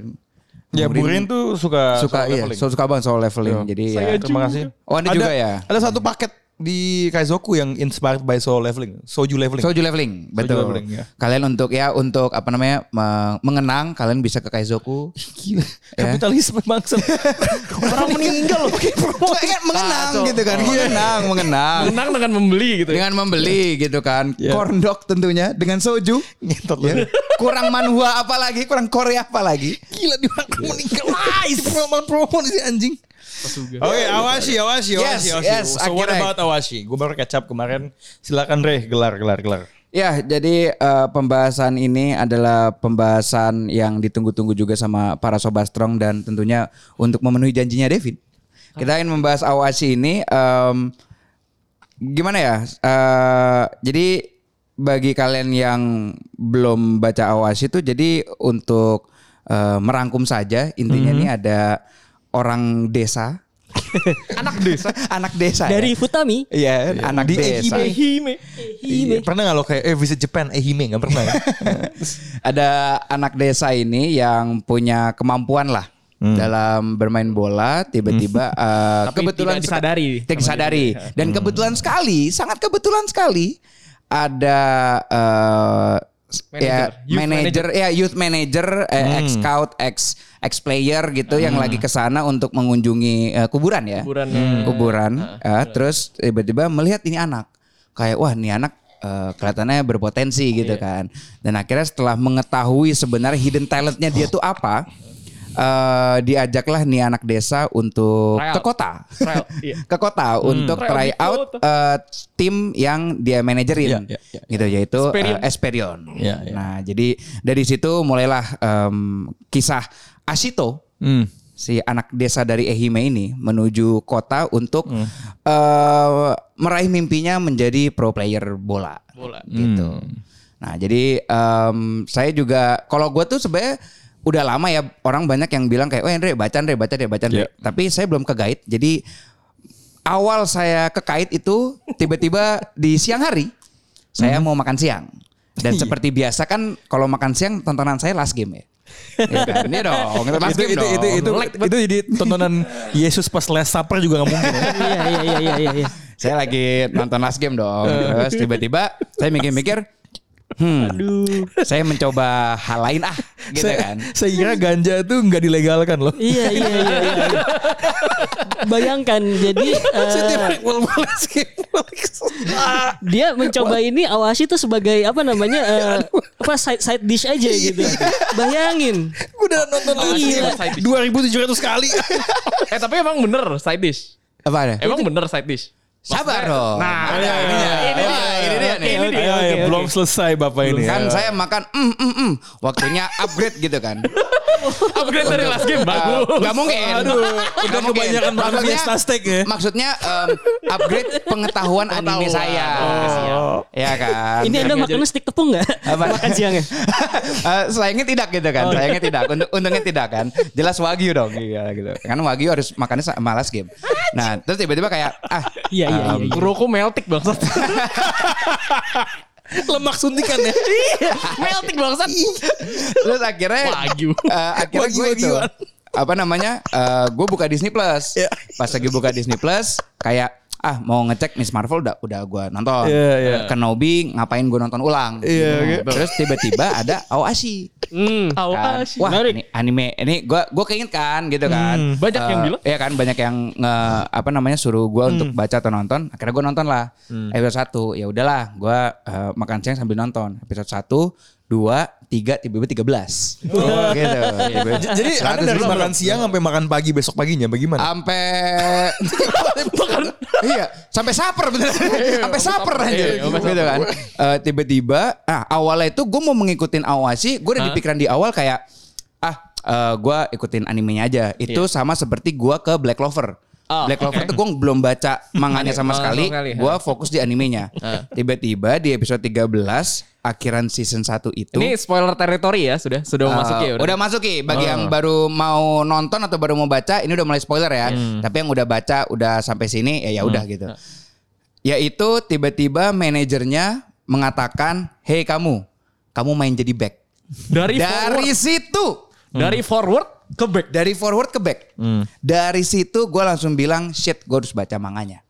Speaker 1: Ya Bu Rin tuh suka
Speaker 4: suka iya,
Speaker 1: leveling. Iya.
Speaker 4: so- suka banget soal leveling. Jadi ya.
Speaker 1: Terima kasih.
Speaker 4: Oh, Anda juga ya?
Speaker 1: Ada satu paket di Kaizoku yang inspired by Soul Leveling, Soju Leveling.
Speaker 4: Soju leveling, betul.
Speaker 1: leveling, ya.
Speaker 4: Kalian untuk ya untuk apa namanya me- mengenang kalian bisa ke Kaizoku. Ya. Gila.
Speaker 1: Kapitalisme bangsa.
Speaker 4: Orang meninggal loh. mengenang gitu
Speaker 1: Iya.
Speaker 4: kan. Mengenang, mengenang.
Speaker 6: Menang dengan membeli gitu. ya.
Speaker 4: dengan membeli gitu kan. Korndok tentunya dengan soju.
Speaker 1: Ngentot Iya. lu.
Speaker 4: Ya. Kurang manhua apa lagi, kurang korea Iya. apa lagi.
Speaker 1: Gila di orang meninggal. Ah, isi promo di sini anjing. Oke, Awashi, Awashi,
Speaker 4: Yes,
Speaker 1: Awashi, Awashi.
Speaker 4: yes,
Speaker 1: so what
Speaker 4: akhirnya.
Speaker 1: about Awashi? Gue baru kecap kemarin. Silakan Reh, gelar, gelar, gelar.
Speaker 4: Ya, jadi eh, pembahasan ini adalah pembahasan yang ditunggu-tunggu juga sama para sobat strong dan tentunya untuk memenuhi janjinya David. Kita ingin membahas awasi ini em, gimana ya? Eh, jadi bagi kalian yang belum baca awasi itu, jadi untuk eh, merangkum saja intinya ini ada orang desa, anak desa, anak desa ya.
Speaker 3: Dari Futami.
Speaker 4: Iya, anak
Speaker 1: Di
Speaker 4: desa.
Speaker 1: Ehime.
Speaker 3: Hime. Hime.
Speaker 1: Iya, Pernah gak lo kayak, eh visit Japan, eh hime, gak pernah ya?
Speaker 4: ada anak desa ini yang punya kemampuan lah dalam bermain bola tiba-tiba eh,
Speaker 6: Tapi
Speaker 4: kebetulan
Speaker 6: tidak disadari. Iya.
Speaker 4: tidak disadari dan kebetulan sekali sangat kebetulan sekali ada eh, s- ya
Speaker 6: Manager. Youth
Speaker 4: manager ya youth manager eh, ex scout ex ex player gitu yang lagi ke sana untuk mengunjungi eh, kuburan ya
Speaker 6: Kuburan. Ah,
Speaker 4: Hmm. kuburan Eh, terus tiba-tiba melihat ini anak kayak wah ini anak eh, kelihatannya
Speaker 6: Iya.
Speaker 4: berpotensi gitu kan dan akhirnya setelah mengetahui sebenarnya hidden talentnya dia tuh apa eh, diajaklah nih anak desa untuk
Speaker 6: Tryout.
Speaker 4: ke kota
Speaker 6: Trial. Iya.
Speaker 4: ke kota untuk
Speaker 6: Tryout
Speaker 4: try
Speaker 6: di
Speaker 4: out
Speaker 6: kota.
Speaker 4: eh, tim yang dia
Speaker 1: Iya,
Speaker 4: manajerin
Speaker 1: iya, iya,
Speaker 4: gitu yaitu
Speaker 6: Esperion.
Speaker 4: eh, Esperion.
Speaker 1: Iya, iya.
Speaker 4: Nah, jadi dari situ mulailah em, kisah Ashito
Speaker 1: Hmm.
Speaker 4: si anak desa dari Ehime ini menuju kota untuk
Speaker 1: Hmm.
Speaker 4: eh, meraih mimpinya menjadi pro player bola.
Speaker 6: Bola.
Speaker 1: hmm.
Speaker 4: Gitu. Nah, jadi em, saya juga kalau gue tuh sebenarnya udah lama ya orang banyak yang bilang kayak, "Oh, Andre, baca Andre, baca deh, baca
Speaker 1: Iya.
Speaker 4: Andre." Tapi saya belum ke guide. Jadi awal saya ke kait itu tiba-tiba di siang hari saya
Speaker 1: Hmm.
Speaker 4: mau makan siang. Dan
Speaker 1: Iya.
Speaker 4: seperti biasa kan kalau makan siang tontonan saya last game ya. Iya kan? Iya dong, last
Speaker 1: Itu,
Speaker 4: game
Speaker 1: itu,
Speaker 4: dong.
Speaker 1: itu, itu, itu jadi tontonan Yesus pas Last Supper juga gak mungkin ya.
Speaker 3: Iya iya iya iya iya.
Speaker 4: saya lagi nonton last game dong. Terus tiba-tiba saya mikir-mikir, hmm,
Speaker 3: Aduh.
Speaker 4: saya mencoba hal lain ah, gitu
Speaker 1: saya,
Speaker 4: kan.
Speaker 1: saya kira ganja itu nggak dilegalkan loh.
Speaker 3: Iya iya iya. iya. Bayangkan jadi
Speaker 5: Iya,
Speaker 3: eh, dia mencoba ini awasi itu sebagai apa namanya eh, apa side side dish aja gitu. Bayangin.
Speaker 1: Gue udah nonton
Speaker 3: Iya.
Speaker 1: 2700 kali.
Speaker 6: Eh tapi emang bener side dish.
Speaker 4: Apa ada?
Speaker 6: Emang bener side dish.
Speaker 4: Sabar dong. Nah, ini dia, ini dia, ini dia nih.
Speaker 1: Ayo, ayo, belum selesai Bapak ini.
Speaker 4: iya, Kan saya makan, mm, mm, mm. waktunya upgrade gitu kan.
Speaker 6: Upgrade dari last game bagus.
Speaker 4: Uh, Gak mungkin.
Speaker 1: Aduh, udah
Speaker 4: Gak mungkin.
Speaker 1: kebanyakan makan
Speaker 4: Maksudnya-
Speaker 1: Fiesta steak ya.
Speaker 4: Maksudnya em, upgrade pengetahuan anime saya. Ya kan.
Speaker 3: Ini Anda makannya stik tepung nggak?
Speaker 4: Apa?
Speaker 3: Makan siangnya.
Speaker 4: Eh, sayangnya tidak gitu kan, sayangnya tidak. Untung- untungnya tidak kan. Jelas wagyu dong, iya gitu. Karena wagyu harus makannya sa- malas game. Nah, terus tiba-tiba kayak ah,
Speaker 3: Iya iya iya, iya.
Speaker 6: Kuroko meltik bangsat.
Speaker 1: Lemak suntikan ya.
Speaker 3: Iya,
Speaker 6: meltik bangsat.
Speaker 4: terus akhirnya
Speaker 6: Wagyu.
Speaker 4: eh, akhirnya gue itu
Speaker 1: Wagyu-wagyuan.
Speaker 4: apa namanya? eh, gue buka Disney Plus.
Speaker 1: Iya.
Speaker 4: Pas lagi buka Disney Plus, kayak ah mau ngecek Miss Marvel udah udah gue nonton.
Speaker 1: Iya, iya.
Speaker 4: Kenobi ngapain gue nonton ulang. Gitu.
Speaker 1: Iya,
Speaker 4: Terus tiba-tiba ada Aoashi.
Speaker 6: Hmm.
Speaker 3: Ah,
Speaker 4: kan.
Speaker 6: Awas.
Speaker 4: Wah,
Speaker 6: Menarik. Hmm,
Speaker 4: ini anime ini gua gua keinget kan gitu kan.
Speaker 6: banyak yang
Speaker 4: Eh,
Speaker 6: bilang. Hmm.
Speaker 4: Iya kan banyak yang nge- apa namanya suruh gua untuk baca atau nonton. Akhirnya gua nonton lah. Episode 1. Ya udahlah, gua eh, makan siang sambil nonton. Episode 1, 2, 3, tiba-tiba 13. gitu.
Speaker 1: Jadi Anda dari makan siang sampai makan pagi besok paginya bagaimana?
Speaker 4: sampai iya sampai saper bener Iya, sampai saper aja
Speaker 6: Iya, sampai
Speaker 4: gitu kan Eh, tiba-tiba ah awalnya itu gue mau mengikutin awasi gue udah di pikiran di awal kayak ah gue ikutin animenya aja itu sama seperti gue ke Black Clover
Speaker 6: Oh,
Speaker 4: Black Clover tuh
Speaker 6: oke.
Speaker 4: gue belum Iya, baca manganya sama
Speaker 6: Manga
Speaker 4: sekali iya.
Speaker 6: sama sekali,
Speaker 4: gue fokus di animenya tiba-tiba di episode 13 akhiran season 1 itu
Speaker 6: Ini spoiler territory ya sudah
Speaker 4: Uh,
Speaker 6: sudah masuk ya Ah.
Speaker 4: udah. masuk Ki. bagi yang baru mau nonton atau
Speaker 6: Hmm. Nah.
Speaker 4: baru mau baca ini udah mulai spoiler ya. Tapi yang udah baca udah sampai sini ya ya udah gitu. Yaitu tiba-tiba manajernya mengatakan, "Hei kamu, kamu main jadi back."
Speaker 6: Dari
Speaker 4: Dari
Speaker 6: forward,
Speaker 4: situ
Speaker 6: dari forward ke back.
Speaker 4: dari forward ke back.
Speaker 6: Hmm.
Speaker 4: Dari situ gue langsung bilang shit gue harus baca manganya.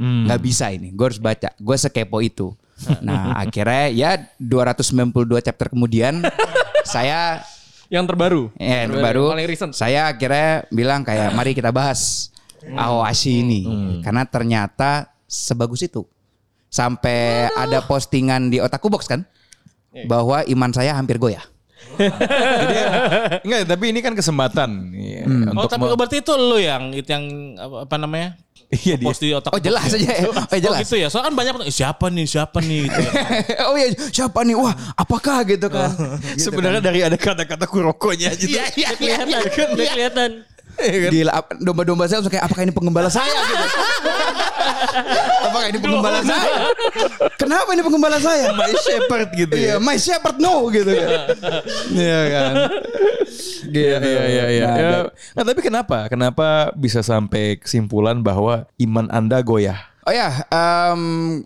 Speaker 6: Hmm.
Speaker 4: Nggak bisa ini, gue harus baca. Gue sekepo itu. Nah akhirnya ya 292 chapter kemudian saya
Speaker 6: Yang terbaru.
Speaker 4: eh,
Speaker 6: Yang
Speaker 4: baru
Speaker 6: Paling recent.
Speaker 4: saya akhirnya bilang kayak mari kita bahas Aoashi ini karena ternyata sebagus itu sampai ada postingan di otakku box kan bahwa iman saya hampir goyah.
Speaker 1: Enggak, tapi ini kan kesempatan. Iya,
Speaker 5: Oh
Speaker 1: Untuk
Speaker 5: tapi
Speaker 1: mau-
Speaker 5: berarti itu lo yang itu yang apa, apa namanya?
Speaker 1: Iya, dia.
Speaker 5: Post di otak.
Speaker 4: Oh jelas
Speaker 5: ya?
Speaker 4: aja, oh jelas.
Speaker 5: Oh gitu ya. Soalnya kan banyak eh, siapa nih siapa nih gitu ya.
Speaker 4: oh iya, siapa nih? Wah, apakah gitu kan?
Speaker 1: Sebenarnya dari ada kata-kata kurokonya gitu.
Speaker 4: Iya, iya, iya,
Speaker 3: Kelihatan,
Speaker 4: iya.
Speaker 3: udah kelihatan.
Speaker 4: kan? Gila, ap- domba-domba saya langsung kayak apakah ini penggembala saya gitu. apakah ini penggembala saya? Kenapa ini penggembala saya?
Speaker 1: My shepherd gitu ya.
Speaker 4: Iya, my shepherd no gitu kan. Iya kan.
Speaker 1: Iya, iya, iya, iya.
Speaker 4: Nah,
Speaker 1: Ya.
Speaker 4: dan-
Speaker 1: Nah, tapi kenapa? Kenapa bisa sampai kesimpulan bahwa iman Anda goyah?
Speaker 4: Oh ya, em,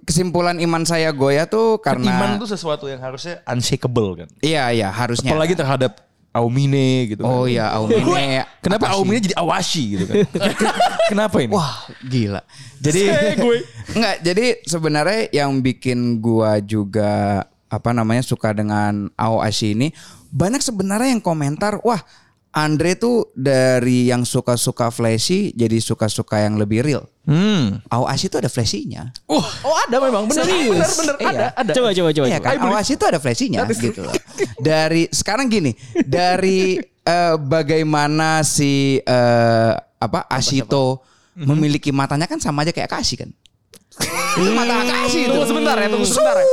Speaker 4: kesimpulan iman saya goyah tuh karena
Speaker 1: Kan Iman itu sesuatu yang harusnya unshakable kan.
Speaker 4: Iya, iya, harusnya.
Speaker 1: Apalagi terhadap Aumine gitu kan.
Speaker 4: Oh iya, Aumine.
Speaker 1: Kenapa
Speaker 4: Apashi.
Speaker 1: Aumine jadi Awashi gitu kan? Kenapa ini?
Speaker 4: Wah, gila. Jadi Enggak, jadi sebenarnya yang bikin gua juga apa namanya suka dengan AOASI ini banyak sebenarnya yang komentar, wah Andre tuh dari yang suka-suka flashy jadi suka-suka yang lebih real.
Speaker 1: Hmm.
Speaker 4: AOASI itu ada flashy-nya.
Speaker 6: Oh ada memang benar. Benar benar
Speaker 4: Iya.
Speaker 6: ada ada.
Speaker 3: Coba coba coba.
Speaker 4: Iya
Speaker 3: coba.
Speaker 4: kan, awas itu ada flash-nya gitu loh. Dari sekarang gini, dari eh, bagaimana si eh, apa Ashito Mhm. memiliki matanya kan sama aja kayak Akashi kan. Itu mata Akashi
Speaker 6: Tunggu sebentar ya, tunggu sebentar ya.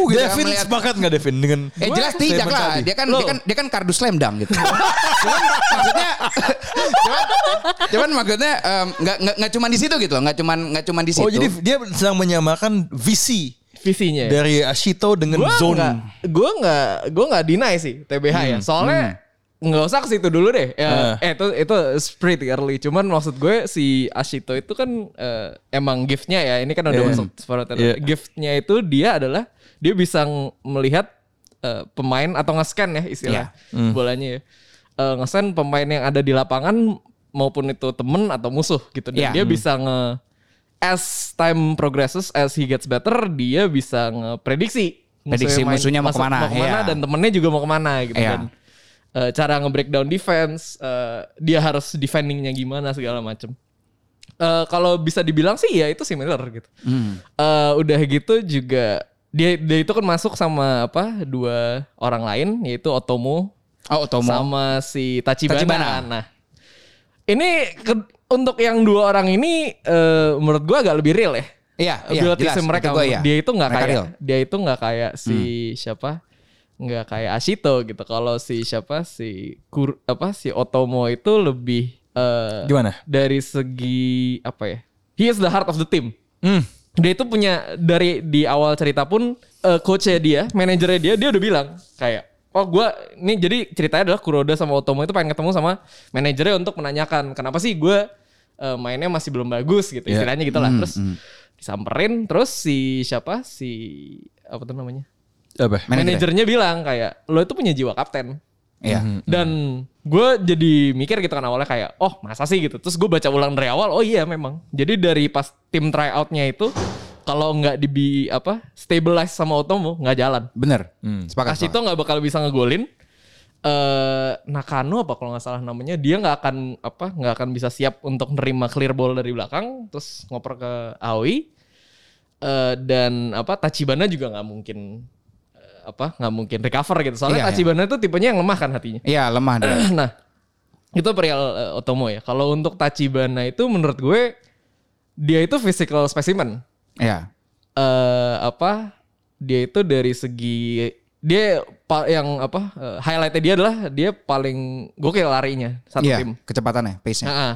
Speaker 4: Uh,
Speaker 1: Devin sepakat nggak Devin dengan
Speaker 4: gitu Eh jelas tidak
Speaker 1: statement
Speaker 4: lah.
Speaker 1: tadi?
Speaker 4: Dia kan dia kan dia kan kardus slam dunk gitu. cuman maksudnya cuman, cuman maksudnya em, nggak nggak nggak cuman di situ gitu loh, nggak cuman nggak cuman di situ.
Speaker 1: Oh jadi dia sedang menyamakan visi
Speaker 6: Visinya. ya.
Speaker 1: dari Ashito dengan
Speaker 6: Gua
Speaker 1: zone.
Speaker 6: nggak, gue nggak, gue nggak deny sih TBH ya. Soalnya nggak usah ke situ dulu deh. Ya, Eh itu itu pretty early. Cuman maksud gue si Ashito itu kan eh, emang giftnya ya. Ini kan udah
Speaker 1: Yeah.
Speaker 6: masuk separuh
Speaker 1: Yeah.
Speaker 6: gift Giftnya itu dia adalah dia bisa ng- melihat eh, pemain atau nge-scan ya istilah bolanya ya. Eh, nge-scan pemain yang ada di lapangan maupun itu temen atau musuh gitu. Dan
Speaker 4: Yeah.
Speaker 6: dia bisa nge as time progresses as he gets better dia bisa ngeprediksi
Speaker 4: Prediksi musuhnya mau
Speaker 6: masuk-
Speaker 4: kemana, iya.
Speaker 6: dan temennya juga mau kemana gitu
Speaker 4: Iya.
Speaker 6: kan Eh, cara nge-breakdown defense eh, dia harus defendingnya gimana segala macem Eh, kalau bisa dibilang sih ya itu similar gitu
Speaker 4: Hmm.
Speaker 6: Eh, udah gitu juga dia dia itu kan masuk sama apa dua orang lain yaitu Otomo
Speaker 4: oh Otomo.
Speaker 6: sama si Tachibana.
Speaker 4: Tachibana.
Speaker 6: Nah, ini ke- untuk yang dua orang ini eh, menurut gua agak lebih real ya.
Speaker 4: Iya, iya,
Speaker 6: Abilities
Speaker 4: jelas.
Speaker 6: mereka
Speaker 4: Itu gua iya.
Speaker 6: dia itu nggak
Speaker 4: Mereka
Speaker 6: kayak
Speaker 4: real. Hmm.
Speaker 6: dia itu nggak kayak si siapa? nggak kayak Ashito gitu. Kalau si siapa si Kur, apa si Otomo itu lebih eh,
Speaker 1: Gimana?
Speaker 6: Dari segi apa ya? He is the heart of the team
Speaker 1: Hmm.
Speaker 6: dia itu punya dari di awal cerita pun eh, coachnya dia, manajernya dia, dia udah bilang kayak oh gue ini jadi ceritanya adalah Kuroda sama Otomo itu pengen ketemu sama manajernya untuk menanyakan kenapa sih gue mainnya masih belum bagus gitu
Speaker 1: Iya.
Speaker 6: istilahnya gitu lah terus disamperin terus si siapa si apa tuh namanya
Speaker 1: Apa?
Speaker 4: Manajernya.
Speaker 6: manajernya bilang kayak lo itu punya jiwa kapten
Speaker 4: Iya.
Speaker 6: Mhm. dan gue jadi mikir gitu kan awalnya kayak oh masa sih gitu terus gue baca ulang dari awal oh iya memang jadi dari pas tim tryoutnya itu kalau nggak dibi apa stabilize sama Otomo nggak jalan
Speaker 4: Bener. Sepakat.
Speaker 6: Kasih itu nggak bakal bisa ngegolin eh Nakano apa kalau nggak salah namanya dia nggak akan apa nggak akan bisa siap untuk nerima clear ball dari belakang terus ngoper ke Aoi Eh, dan apa Tachibana juga nggak mungkin eh, apa nggak mungkin recover gitu
Speaker 4: Iya,
Speaker 6: soalnya
Speaker 4: iya.
Speaker 6: Tachibana itu tipenya yang lemah kan hatinya
Speaker 4: Iya lemah dia.
Speaker 6: nah itu perihal eh, Otomo ya kalau untuk Tachibana itu menurut gue dia itu physical specimen
Speaker 4: Iya.
Speaker 6: eh apa dia itu dari segi dia pa- yang apa eh, highlightnya dia adalah dia paling gokil larinya satu
Speaker 4: Iya,
Speaker 6: tim.
Speaker 4: kecepatannya, pace-nya.
Speaker 6: Nah, ah.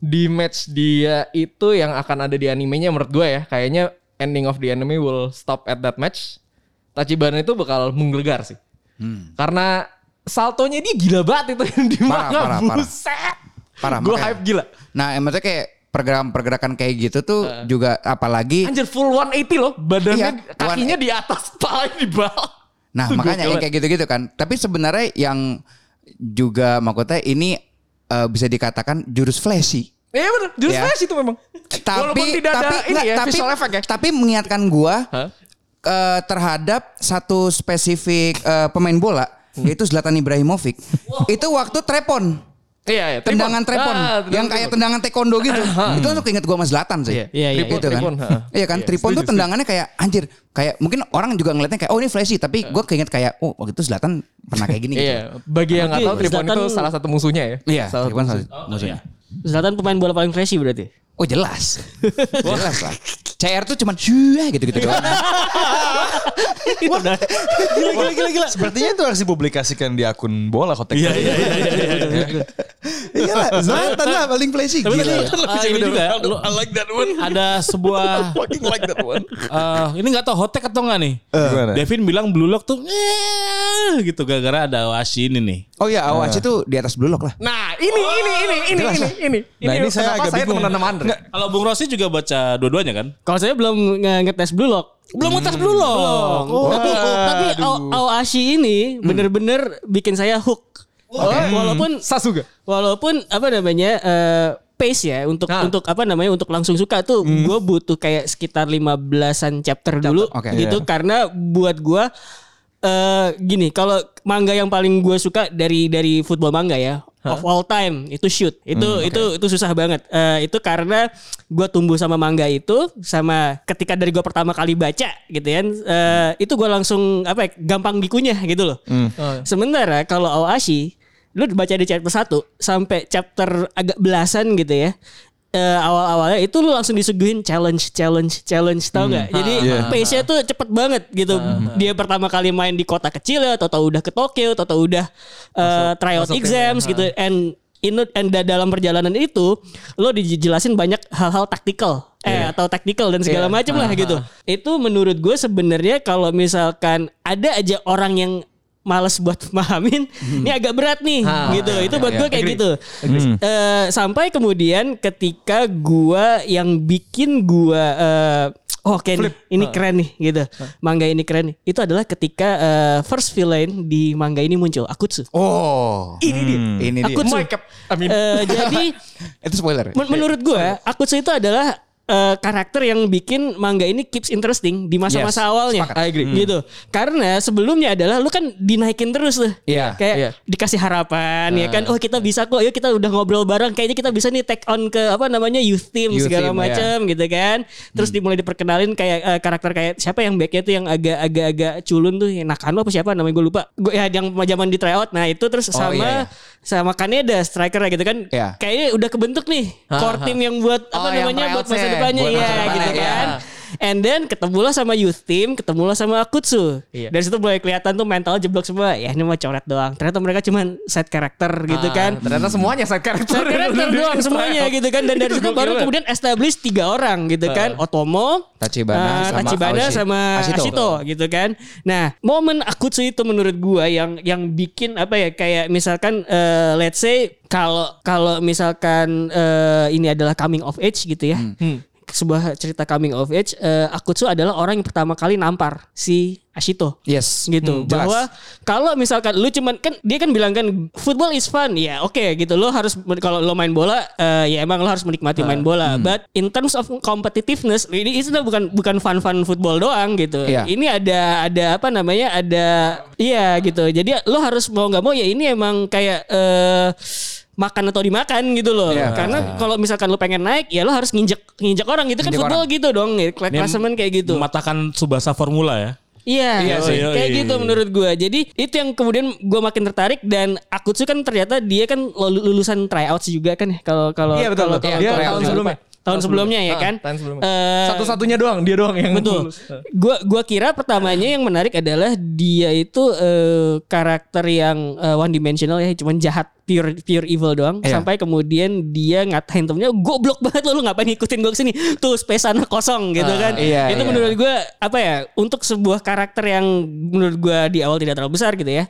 Speaker 6: di match dia itu yang akan ada di animenya menurut gue ya kayaknya ending of the anime will stop at that match. Tachibana itu bakal menggelegar sih. Karena saltonya dia gila banget itu di
Speaker 4: Hmm. Parah,
Speaker 6: manga
Speaker 4: parah, parah.
Speaker 6: buset.
Speaker 4: Parah,
Speaker 6: Gue
Speaker 4: makanya.
Speaker 6: hype gila.
Speaker 4: Nah, yang maksudnya kayak pergerakan-pergerakan kayak gitu tuh
Speaker 6: Eh.
Speaker 4: juga apalagi
Speaker 6: Anjir full 180 loh. Badannya
Speaker 4: Iya,
Speaker 6: kakinya di atas, palanya di bawah.
Speaker 4: Nah
Speaker 6: Itu
Speaker 4: makanya yang
Speaker 6: gokil
Speaker 4: kayak gitu-gitu kan. Tapi sebenarnya yang juga makota ini eh, bisa dikatakan jurus flashy.
Speaker 6: banget. Iya bener, jurus
Speaker 4: Iya.
Speaker 6: flash itu memang.
Speaker 4: Tapi
Speaker 6: Walaupun tidak
Speaker 4: tapi
Speaker 6: ada ini
Speaker 4: nggak,
Speaker 6: ya,
Speaker 4: tapi,
Speaker 6: visual effect ya.
Speaker 4: tapi mengingatkan gua
Speaker 6: Hah?
Speaker 4: eh, terhadap satu spesifik eh, pemain bola
Speaker 6: Hmm.
Speaker 4: yaitu Zlatan Ibrahimovic. Itu waktu trepon,
Speaker 6: Iya, iya. tripod.
Speaker 4: tendangan trepon
Speaker 6: Ah,
Speaker 4: yang
Speaker 6: tendangan
Speaker 4: kayak
Speaker 6: tripod.
Speaker 4: tendangan taekwondo gitu. Itu langsung keinget gua sama Zlatan sih.
Speaker 6: Iya,
Speaker 3: iya, iya.
Speaker 4: Tripon, gitu kan.
Speaker 6: Tripon, ha.
Speaker 4: Iya kan, tripon tuh tendangannya kayak anjir, kayak mungkin orang juga ngeliatnya kayak oh ini flashy, tapi gua keinget kayak oh waktu itu Zlatan pernah kayak gini gitu.
Speaker 6: Iya, bagi yang nggak
Speaker 3: Berarti
Speaker 6: tahu tripon itu
Speaker 3: Zlatan-
Speaker 6: salah satu musuhnya ya.
Speaker 4: Iya,
Speaker 6: salah
Speaker 4: Tripon
Speaker 6: satu.
Speaker 4: salah- musuhnya.
Speaker 3: Zlatan pemain bola paling flashy berarti.
Speaker 4: Oh jelas. jelas lah. CR tuh cuman syuah gitu-gitu doang.
Speaker 1: gila, gila, gila, gila. Sepertinya itu harus dipublikasikan di akun bola kotek. Iya, iya, iya.
Speaker 4: Iya lah, Zlatan lah paling flashy.
Speaker 5: Tapi tadi
Speaker 4: Gila.
Speaker 5: ah, ini juga lu- ada sebuah eh, ini nggak tahu hotek atau nggak nih?
Speaker 1: Eh, Gimana?
Speaker 5: Devin bilang Blue Lock tuh "Eh," gitu gara-gara ada Awashi ini nih.
Speaker 4: Oh iya, Awachi tuh di atas blue lock lah.
Speaker 6: Nah, ini, ini, ini, ini, ini, ini.
Speaker 1: Nah, ini saya
Speaker 6: kenapa
Speaker 1: agak bingung.
Speaker 6: temenan sama Andre.
Speaker 5: Kalau Bung Rossi juga baca dua-duanya kan?
Speaker 3: Kalau saya belum nge- ngetes Blue Lock. Hmm. Oh,
Speaker 5: Belum ngetes Blue Lock.
Speaker 3: tapi tapi Ao- Aoashi ini bener-bener bikin saya hook. Walaupun
Speaker 6: Sasuga.
Speaker 3: walaupun apa namanya eh, pace ya untuk
Speaker 6: Ah.
Speaker 3: untuk apa namanya untuk langsung suka tuh gue butuh kayak sekitar 15-an chapter dulu
Speaker 4: oke.
Speaker 3: gitu karena buat gue eh gini kalau manga yang paling gue suka dari dari football manga ya of all time itu shoot itu itu itu susah banget Eh, itu karena gue tumbuh sama manga itu sama ketika dari gue pertama kali baca gitu kan eh, itu gue langsung apa ya, gampang dikunyah gitu loh
Speaker 6: Oh.
Speaker 3: Sementara kalau Awashi, lu baca di chapter 1 sampai chapter agak belasan gitu ya. eh, awal-awalnya itu lu langsung disuguhin challenge challenge challenge tau nggak? Jadi pace-nya tuh cepet banget gitu. Dia pertama kali main di kota kecil ya, atau udah ke Tokyo, atau udah eh, tryout
Speaker 6: masuk ke-
Speaker 3: exams
Speaker 6: ha.
Speaker 3: gitu. And in and da- dalam perjalanan itu lo dijelasin banyak hal-hal taktikal eh atau taktikal dan segala
Speaker 6: Iya.
Speaker 3: macam lah gitu. Itu menurut gue sebenarnya kalau misalkan ada aja orang yang males buat pahamin, ini agak berat nih
Speaker 6: Ah,
Speaker 3: gitu.
Speaker 6: ah,
Speaker 3: itu
Speaker 6: ah,
Speaker 3: buat
Speaker 6: Hmm. iya.
Speaker 3: gue kayak
Speaker 6: Agree.
Speaker 3: gitu. Eh, sampai kemudian ketika gue yang bikin gue eh oh oke nih, ini keren nih gitu. Manga ini keren nih. Itu adalah ketika eh, first villain di manga ini muncul, Akutsu.
Speaker 4: Oh.
Speaker 3: Ini dia.
Speaker 4: Ini dia.
Speaker 3: Akutsu.
Speaker 6: Mike, Amin.
Speaker 3: Eh, jadi
Speaker 4: Itu spoiler.
Speaker 3: Men- menurut gue, Akutsu itu adalah eh, karakter yang bikin manga ini keeps interesting di masa-masa
Speaker 6: Yes,
Speaker 3: awalnya.
Speaker 6: sepakat. I agree.
Speaker 3: Gitu. Karena sebelumnya adalah lu kan dinaikin terus tuh.
Speaker 6: Iya,
Speaker 3: Kayak
Speaker 6: iya. Nah.
Speaker 3: dikasih harapan ya kan. Oh, kita bisa kok. Yuk kita udah ngobrol bareng. Kayaknya kita bisa nih take on ke apa namanya youth team
Speaker 6: Youth
Speaker 3: segala
Speaker 6: team, iya.
Speaker 3: macam gitu kan. Terus
Speaker 6: Hmm.
Speaker 3: dimulai diperkenalin kayak eh, karakter kayak siapa yang backnya tuh yang agak agak agak culun tuh yang Nakano apa siapa namanya gue lupa. Gue ya yang zaman di tryout. Nah, itu terus
Speaker 6: Oh,
Speaker 3: sama
Speaker 4: iya, iya.
Speaker 3: sama Kaneda striker gitu kan.
Speaker 4: Iya.
Speaker 3: Kayaknya udah kebentuk nih
Speaker 6: Ha,
Speaker 3: core
Speaker 6: ha.
Speaker 3: team yang buat apa
Speaker 6: Oh, yang
Speaker 3: namanya buat masa
Speaker 6: trialsnya.
Speaker 3: depannya
Speaker 6: Buat
Speaker 3: ya
Speaker 6: masa depannya,
Speaker 3: gitu
Speaker 6: iya.
Speaker 3: kan. And then ketemulah sama youth team, ketemulah sama Akutsu.
Speaker 6: Iya.
Speaker 3: Dari situ mulai kelihatan tuh mental jeblok semua. Ya ini mah coret doang. Ternyata mereka cuman set karakter gitu
Speaker 6: Ah,
Speaker 3: kan.
Speaker 6: Ternyata semuanya side character.
Speaker 3: Set karakter doang semuanya gitu kan. Dan dari
Speaker 6: Itu
Speaker 3: situ
Speaker 6: gokil
Speaker 3: baru
Speaker 6: banget.
Speaker 3: kemudian establish tiga orang gitu kan. Otomo,
Speaker 4: Tachibana
Speaker 3: eh,
Speaker 4: sama
Speaker 3: Tachibana
Speaker 4: Aoshi.
Speaker 3: sama
Speaker 4: Ashito.
Speaker 3: Ashito. gitu kan. Nah, momen Akutsu itu menurut gua yang yang bikin apa ya kayak misalkan eh, let's say kalau kalau misalkan eh, ini adalah coming of age gitu ya.
Speaker 4: Hmm.
Speaker 3: Sebuah cerita coming of age, eh, Akutsu adalah orang yang pertama kali nampar si Ashito
Speaker 4: Yes.
Speaker 3: gitu
Speaker 4: Hmm, jelas.
Speaker 3: bahwa kalau misalkan lu cuman kan dia kan bilang kan football is fun ya oke gitu lo harus kalau lo main bola eh, ya emang lo harus menikmati
Speaker 4: Ah,
Speaker 3: main
Speaker 4: hmm.
Speaker 3: bola but in terms of competitiveness ini itu bukan bukan fun fun football doang gitu
Speaker 4: Iya.
Speaker 3: ini ada ada apa namanya ada iya gitu jadi lo harus mau nggak mau ya ini emang kayak eh makan atau dimakan gitu loh
Speaker 4: Iya.
Speaker 3: karena kalau misalkan lo pengen naik ya lo harus nginjek nginjek orang gitu kan
Speaker 4: Nginjek
Speaker 3: football gitu dong ya, klasemen kayak gitu
Speaker 5: Mematahkan Subasa formula ya.
Speaker 3: Iya,
Speaker 5: Iya
Speaker 6: Oh,
Speaker 5: sih.
Speaker 3: kayak
Speaker 5: Yoi.
Speaker 3: gitu menurut gua. Jadi itu yang kemudian gua makin tertarik dan Akutsu kan ternyata dia kan lulu- lulusan tryouts juga kan ya kalau kalau
Speaker 6: Iya, betul,
Speaker 3: kalau-
Speaker 6: betul.
Speaker 3: kalau-
Speaker 6: Iya,
Speaker 3: kalau-
Speaker 6: tahun
Speaker 3: kalau-
Speaker 6: sebelumnya.
Speaker 3: tahun sebelumnya ya
Speaker 6: Ah,
Speaker 3: kan.
Speaker 6: tahun sebelumnya.
Speaker 3: Eh,
Speaker 6: Satu-satunya doang, dia doang yang
Speaker 3: betul.
Speaker 6: lulus.
Speaker 3: Gua gua kira pertamanya yang menarik adalah dia itu eh, karakter yang eh, one dimensional ya, cuman jahat pure pure evil doang
Speaker 4: Iya.
Speaker 3: sampai kemudian dia ngatain temennya goblok banget lo lu ngapain ngikutin gua kesini tuh space sana kosong gitu
Speaker 6: Ah,
Speaker 3: kan
Speaker 4: iya,
Speaker 3: itu
Speaker 4: iya.
Speaker 3: menurut gue apa ya untuk sebuah karakter yang menurut gue di awal tidak terlalu besar gitu ya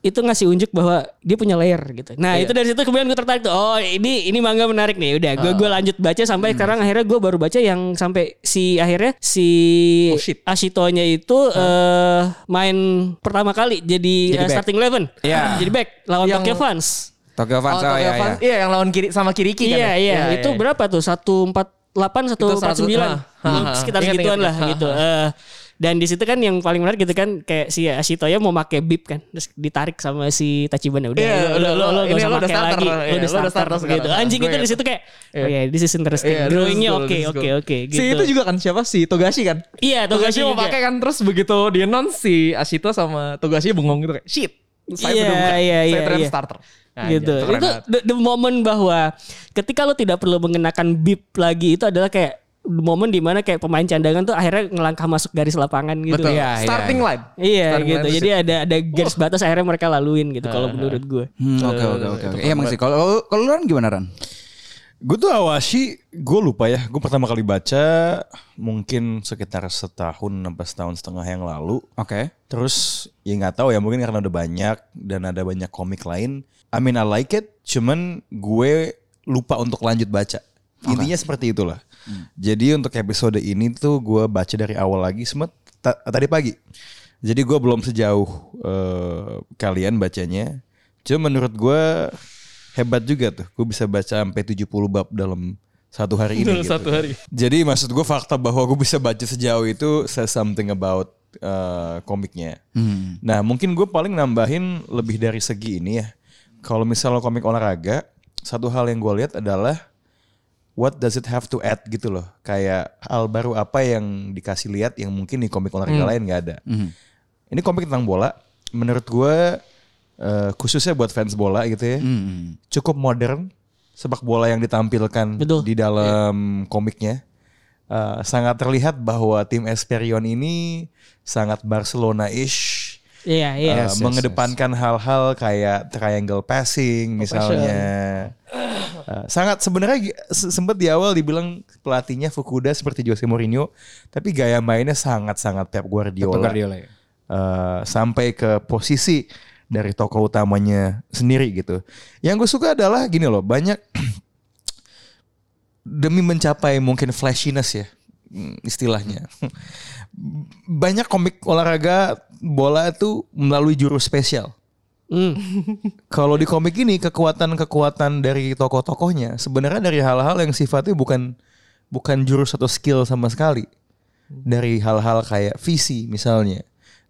Speaker 3: itu ngasih unjuk bahwa dia punya layer gitu. Nah itu dari situ kemudian gue tertarik tuh. Oh ini ini manga menarik nih. Udah gue gue lanjut baca sampai sekarang akhirnya gue baru baca yang sampai si akhirnya si
Speaker 6: Oh, shit.
Speaker 3: Ashitonya itu eh main pertama kali jadi, eh,
Speaker 4: back.
Speaker 3: starting eleven.
Speaker 4: Iya.
Speaker 3: Jadi back lawan
Speaker 6: Yang-
Speaker 3: Tokyo Fans.
Speaker 4: Tokyo Fans,
Speaker 6: Oh,
Speaker 4: oh,
Speaker 6: Tokyo
Speaker 4: ya,
Speaker 6: Fans.
Speaker 4: ya.
Speaker 6: Iya, yang lawan kiri sama kiri kan.
Speaker 3: Iya
Speaker 6: ya?
Speaker 3: iya itu berapa tuh satu empat delapan satu empat sembilan Hmm,
Speaker 6: Itu seratus- ah, ah,
Speaker 3: sekitar
Speaker 6: ah. Ingat,
Speaker 3: segituan
Speaker 6: ingat,
Speaker 3: lah
Speaker 6: ingat. Ah,
Speaker 3: gitu. Eh, dan di situ kan yang paling menarik gitu kan kayak si Ashitoya mau pakai bib kan terus ditarik sama si Tachibana udah
Speaker 6: Iya,
Speaker 3: lo lo
Speaker 6: udah, lo-
Speaker 3: lo gak
Speaker 6: ini
Speaker 3: usah
Speaker 6: lo udah
Speaker 3: pakai
Speaker 6: starter,
Speaker 3: lagi
Speaker 6: iya,
Speaker 3: lo udah starter
Speaker 6: sekarang.
Speaker 3: gitu anjing
Speaker 6: Gue
Speaker 3: itu di
Speaker 6: ingat.
Speaker 3: situ kayak
Speaker 6: Iya.
Speaker 3: oh ya this is interesting
Speaker 6: Iya, this is
Speaker 3: drawingnya
Speaker 6: cool,
Speaker 3: oke
Speaker 6: this is
Speaker 3: oke
Speaker 6: cool.
Speaker 3: oke gitu.
Speaker 6: Si itu juga kan siapa sih? Togashi kan?
Speaker 3: iya Togashi
Speaker 6: mau
Speaker 3: juga.
Speaker 6: pakai kan terus begitu dia non si Ashito sama Togashi bengong gitu kayak shit. Saya
Speaker 3: Iya,
Speaker 6: udah bukan.
Speaker 3: iya,
Speaker 6: saya
Speaker 3: iya,
Speaker 6: ternyata
Speaker 3: iya.
Speaker 6: starter. Nah,
Speaker 3: gitu.
Speaker 6: anjir, keren
Speaker 3: Itu
Speaker 6: banget.
Speaker 3: the, the moment bahwa ketika lo tidak perlu mengenakan bib lagi itu adalah kayak the moment dimana kayak pemain cadangan tuh akhirnya ngelangkah masuk garis lapangan gitu.
Speaker 6: Betul.
Speaker 4: Iya, iya,
Speaker 6: starting
Speaker 4: iya.
Speaker 6: line.
Speaker 3: Iya
Speaker 6: Starting
Speaker 3: gitu.
Speaker 6: line
Speaker 3: Jadi ada ada garis batas akhirnya mereka laluin gitu kalau menurut gue.
Speaker 4: Hmm, Oke oke oke. oke. Iya emang sih. Kalau kalau lu Ran gimana Ran?
Speaker 1: Gue tuh Awashi, gue lupa ya. Gue pertama kali baca mungkin sekitar setahun sampai setahun setengah yang lalu.
Speaker 4: Oke.
Speaker 1: Terus ya nggak tahu ya mungkin karena udah banyak dan ada banyak komik lain. I mean I like it, cuman gue lupa untuk lanjut baca. Intinya seperti itulah. Jadi untuk episode ini tuh gue baca dari awal lagi semet ta- tadi pagi. Jadi gue belum sejauh eh, kalian bacanya. Cuma menurut gue hebat juga tuh. Gue bisa baca sampai 70 bab dalam satu hari ini. gitu.
Speaker 6: Satu hari.
Speaker 1: Jadi maksud gue fakta bahwa gue bisa baca sejauh itu says something about uh, komiknya.
Speaker 4: Hmm.
Speaker 1: Nah mungkin gue paling nambahin lebih dari segi ini ya. Kalau misalnya komik olahraga, satu hal yang gue lihat adalah what does it have to add gitu loh. Kayak hal baru apa yang dikasih lihat yang mungkin di komik olahraga lain nggak ada. Ini komik tentang bola. Menurut gue eh, khususnya buat fans bola gitu ya,
Speaker 3: Hmm.
Speaker 1: cukup modern sepak bola yang ditampilkan
Speaker 3: Betul.
Speaker 1: di dalam komiknya. Eh, sangat terlihat bahwa tim Esperion ini sangat Barcelona-ish.
Speaker 3: Iya iya.
Speaker 1: Eh, mengedepankan hal-hal kayak triangle passing misalnya. Eh, sangat sebenarnya sempat di awal dibilang pelatihnya Fukuda seperti Jose Mourinho, tapi gaya mainnya sangat-sangat Pep Guardiola. Eh, sampai ke posisi dari tokoh utamanya sendiri gitu. Yang gue suka adalah gini loh, banyak demi mencapai mungkin flashiness ya hmm, istilahnya. Banyak komik olahraga bola itu melalui jurus spesial.
Speaker 3: Hmm.
Speaker 1: Kalau di komik ini kekuatan-kekuatan dari tokoh-tokohnya sebenarnya dari hal-hal yang sifatnya bukan bukan jurus atau skill sama sekali. Dari hal-hal kayak visi misalnya,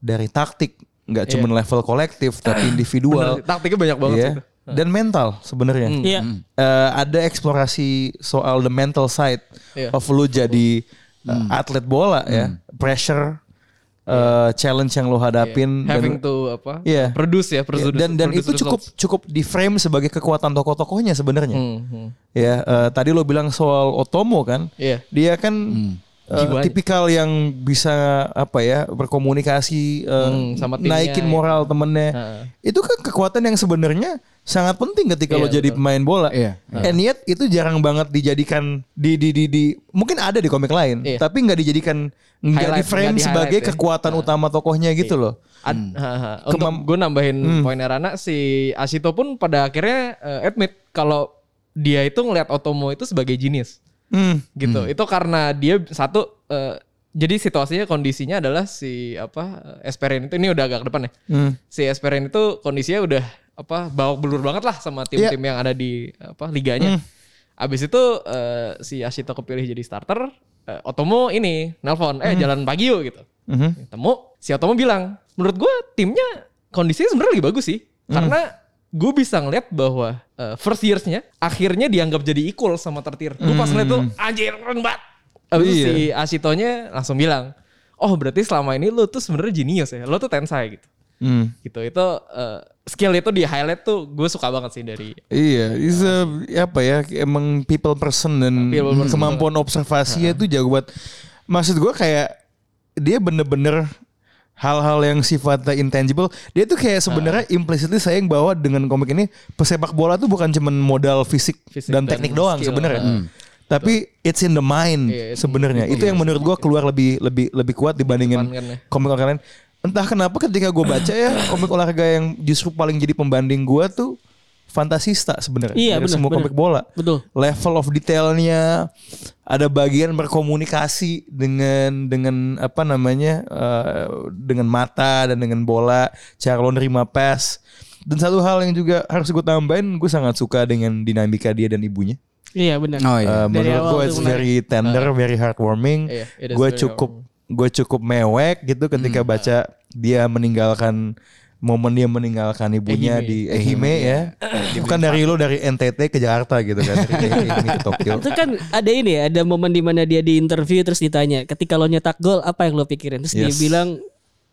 Speaker 1: dari taktik nggak cuma level kolektif tapi individual.
Speaker 6: Bener, taktiknya banyak banget Hmm.
Speaker 1: Iya.
Speaker 6: sih itu.
Speaker 1: Dan mental sebenarnya.
Speaker 3: Iya.
Speaker 1: Eh, ada eksplorasi soal the mental side
Speaker 6: Iya. Hmm.
Speaker 1: of lu jadi eh, atlet bola ya, pressure, eh, challenge yang lu hadapin, dan-
Speaker 6: Iya. Having to apa?
Speaker 1: Iya.
Speaker 6: Produce ya,
Speaker 1: Iya,
Speaker 6: produce.
Speaker 1: dan dan
Speaker 6: produce
Speaker 1: itu cukup
Speaker 6: results.
Speaker 1: cukup di frame sebagai kekuatan tokoh-tokohnya sebenarnya.
Speaker 6: Hmm, hmm.
Speaker 1: Ya, eh, tadi lo bilang soal Otomo kan?
Speaker 6: Iya.
Speaker 1: Dia kan
Speaker 4: Hmm.
Speaker 1: eh,
Speaker 6: Jiwanya.
Speaker 1: tipikal yang bisa apa ya berkomunikasi, eh,
Speaker 6: Hmm, sama timnya,
Speaker 1: naikin moral temennya.
Speaker 6: Heeh.
Speaker 1: Itu kan kekuatan yang sebenarnya sangat penting ketika
Speaker 6: Iya,
Speaker 1: lo jadi
Speaker 6: betul.
Speaker 1: pemain bola.
Speaker 4: Iya.
Speaker 1: And yet itu jarang banget dijadikan di di di, di- mungkin ada di komik lain,
Speaker 6: Iya.
Speaker 1: tapi nggak dijadikan nggak di
Speaker 6: Highlight,
Speaker 1: frame
Speaker 6: nggak di
Speaker 1: sebagai
Speaker 6: highlight ya. Iya.
Speaker 1: kekuatan utama tokohnya gitu loh.
Speaker 6: Ad, ha, ha. Untuk
Speaker 1: Kemam- Hmm.
Speaker 6: gue nambahin poinnya Rana si Asito pun pada akhirnya eh, admit kalau dia itu ngelihat Otomo itu sebagai jenius
Speaker 1: Hmm.
Speaker 6: gitu. Itu karena dia satu eh, jadi situasinya kondisinya adalah si apa eh, Esperin itu ini udah agak ke depan ya.
Speaker 1: Hmm.
Speaker 6: Si Esperin itu kondisinya udah apa bawak belur banget lah sama
Speaker 1: Iya.
Speaker 6: tim-tim yang ada di apa liganya.
Speaker 1: Hmm.
Speaker 6: Abis itu eh, si Asito kepilih jadi starter, eh, Otomo ini nelpon,
Speaker 1: Hmm.
Speaker 6: eh jalan pagi yuk gitu
Speaker 1: Mhm.
Speaker 6: temu si Otomo bilang menurut gue timnya kondisinya sebenarnya lagi bagus sih
Speaker 1: Hmm.
Speaker 6: karena gue bisa ngeliat bahwa uh, first years-nya akhirnya dianggap jadi equal sama tertir gue pas ngeliat tuh
Speaker 1: Hmm.
Speaker 6: anjir keren banget
Speaker 1: Iya.
Speaker 6: Abis itu si Ashitonya langsung bilang oh berarti selama ini lo tuh sebenarnya jenius ya lo tuh tensai gitu
Speaker 1: Hmm.
Speaker 6: gitu itu uh, skill itu di highlight tuh gue suka banget sih dari
Speaker 1: Iya, is a, apa ya emang people person dan
Speaker 6: People person.
Speaker 1: kemampuan observasinya itu jago banget. Maksud gue kayak dia bener-bener hal-hal yang sifatnya intangible. Dia tuh kayak sebenarnya implicitly sayang bahwa dengan komik ini pesepak bola tuh bukan cuman modal fisik,
Speaker 6: Fisik
Speaker 1: dan
Speaker 6: dan
Speaker 1: teknik doang
Speaker 6: skill.
Speaker 1: sebenarnya. Tapi it's in the mind
Speaker 6: Iya, it's in
Speaker 1: sebenarnya.
Speaker 6: the
Speaker 1: Itu yang menurut gue keluar lebih lebih lebih kuat dibandingin
Speaker 6: Dikedepankan ya.
Speaker 1: komik orang lain. entah kenapa ketika gue baca ya komik olahraga yang justru paling jadi pembanding gue tuh fantasista sebenarnya
Speaker 3: Iya,
Speaker 1: Dari
Speaker 3: benar,
Speaker 1: semua komik
Speaker 3: benar.
Speaker 1: bola
Speaker 3: Betul.
Speaker 1: level of detailnya ada bagian berkomunikasi dengan dengan apa namanya eh, dengan mata dan dengan bola cara lo nerima pass dan satu hal yang juga harus gue tambahin gue sangat suka dengan dinamika dia dan ibunya
Speaker 3: Iya benar.
Speaker 4: Oh iya.
Speaker 1: Uh,
Speaker 3: Dari
Speaker 1: menurut
Speaker 3: awal
Speaker 1: gue
Speaker 3: tuh
Speaker 1: it's
Speaker 3: menarik.
Speaker 1: very tender, very heartwarming.
Speaker 6: Iya, it is
Speaker 1: gue
Speaker 6: very
Speaker 1: cukup gue cukup mewek gitu ketika baca dia meninggalkan momen dia meninggalkan ibunya
Speaker 6: Ehime.
Speaker 1: di Ehime ya. Bukan dari lo dari NTT ke Jakarta gitu kan. Dari Ehime ke Tokyo.
Speaker 3: Itu kan ada ini ya, ada momen di mana dia di interview terus ditanya, ketika lo nyetak gol apa yang lo pikirin? Terus dia
Speaker 1: Yes.
Speaker 3: bilang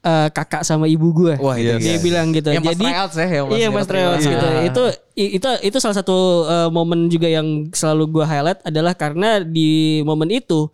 Speaker 3: "Eh, kakak sama ibu gua.
Speaker 4: Wah, itu
Speaker 3: dia
Speaker 4: guys.
Speaker 3: bilang gitu.
Speaker 6: Yang Mas
Speaker 3: Jadi
Speaker 6: Reals ya, yang Mas
Speaker 3: Iya, Mas
Speaker 6: Reals.
Speaker 3: Reals
Speaker 6: Iya.
Speaker 3: gitu. Itu i- itu itu salah satu eh, momen juga yang selalu gua highlight adalah karena di momen itu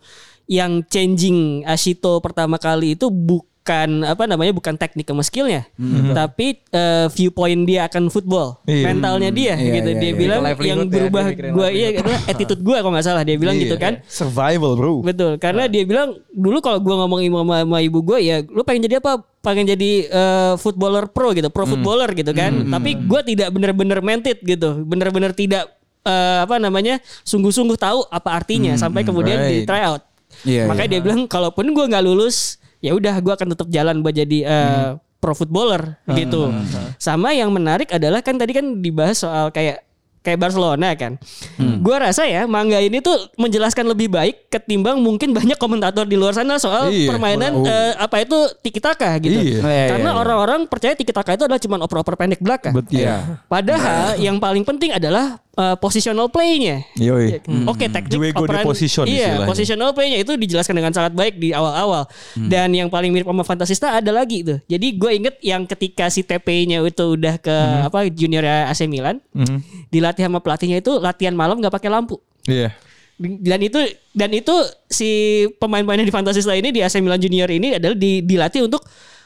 Speaker 3: yang changing Ashito pertama kali itu bukan apa namanya bukan teknik sama skillnya tapi eh, viewpoint dia akan football
Speaker 1: Iya.
Speaker 3: mentalnya dia
Speaker 4: Hmm. Iya,
Speaker 3: gitu
Speaker 4: iya,
Speaker 3: dia
Speaker 4: iya.
Speaker 3: bilang
Speaker 6: Livelihood
Speaker 3: yang
Speaker 6: ya, dia
Speaker 3: berubah
Speaker 6: mikirin
Speaker 3: gua iya adalah attitude gua kalau nggak salah dia bilang
Speaker 4: Iya.
Speaker 3: gitu kan
Speaker 1: Iya. Survival
Speaker 4: Uh.
Speaker 1: bro.
Speaker 3: Betul, karena dia bilang dulu kalau gua ngomong sama, sama, sama ibu gue ya, lu pengen jadi apa? Pengen jadi eh, footballer pro gitu, pro
Speaker 4: Hmm.
Speaker 3: footballer gitu kan. Tapi gua tidak benar-benar mentit gitu, benar-benar tidak eh, apa namanya sungguh-sungguh tahu apa artinya sampai kemudian di
Speaker 1: right.
Speaker 3: tryout.
Speaker 4: Hmm. Iya,
Speaker 3: Makanya dia bilang kalaupun gua nggak lulus, ya udah gua akan tetap jalan buat jadi eh, pro footballer
Speaker 1: Hmm.
Speaker 3: gitu. Sama yang menarik adalah kan tadi kan dibahas soal kayak kayak Barcelona kan.
Speaker 1: Hmm.
Speaker 3: Gua rasa ya manga ini tuh menjelaskan lebih baik ketimbang mungkin banyak komentator di luar sana soal
Speaker 1: Iya.
Speaker 3: permainan eh, apa itu tiki taka gitu.
Speaker 1: Iya.
Speaker 4: Iya,
Speaker 3: Karena
Speaker 4: iya, iya.
Speaker 3: orang-orang percaya tiki taka itu adalah cuman oper-oper pendek belaka.
Speaker 1: Betul.
Speaker 4: Iya.
Speaker 3: Padahal yang paling penting adalah eh, positional play-nya.
Speaker 1: Yoi.
Speaker 3: Ya, Oke, teknik
Speaker 1: Hmm. Juego de
Speaker 3: operan-
Speaker 1: position
Speaker 3: Iya,
Speaker 1: istilahnya. Hmm.
Speaker 3: positional play-nya itu dijelaskan dengan sangat baik di awal-awal. Dan yang paling mirip sama Fantasista ada lagi tuh. Jadi gue inget yang ketika si TP-nya itu udah ke
Speaker 1: Hmm.
Speaker 3: apa junior AC Milan,
Speaker 1: Mhm.
Speaker 3: dilatih sama pelatihnya itu latihan malam nggak pakai lampu.
Speaker 1: Iya.
Speaker 3: Dan itu dan itu si pemain-pemain yang di Fantasista ini di AC Milan junior ini adalah di- dilatih untuk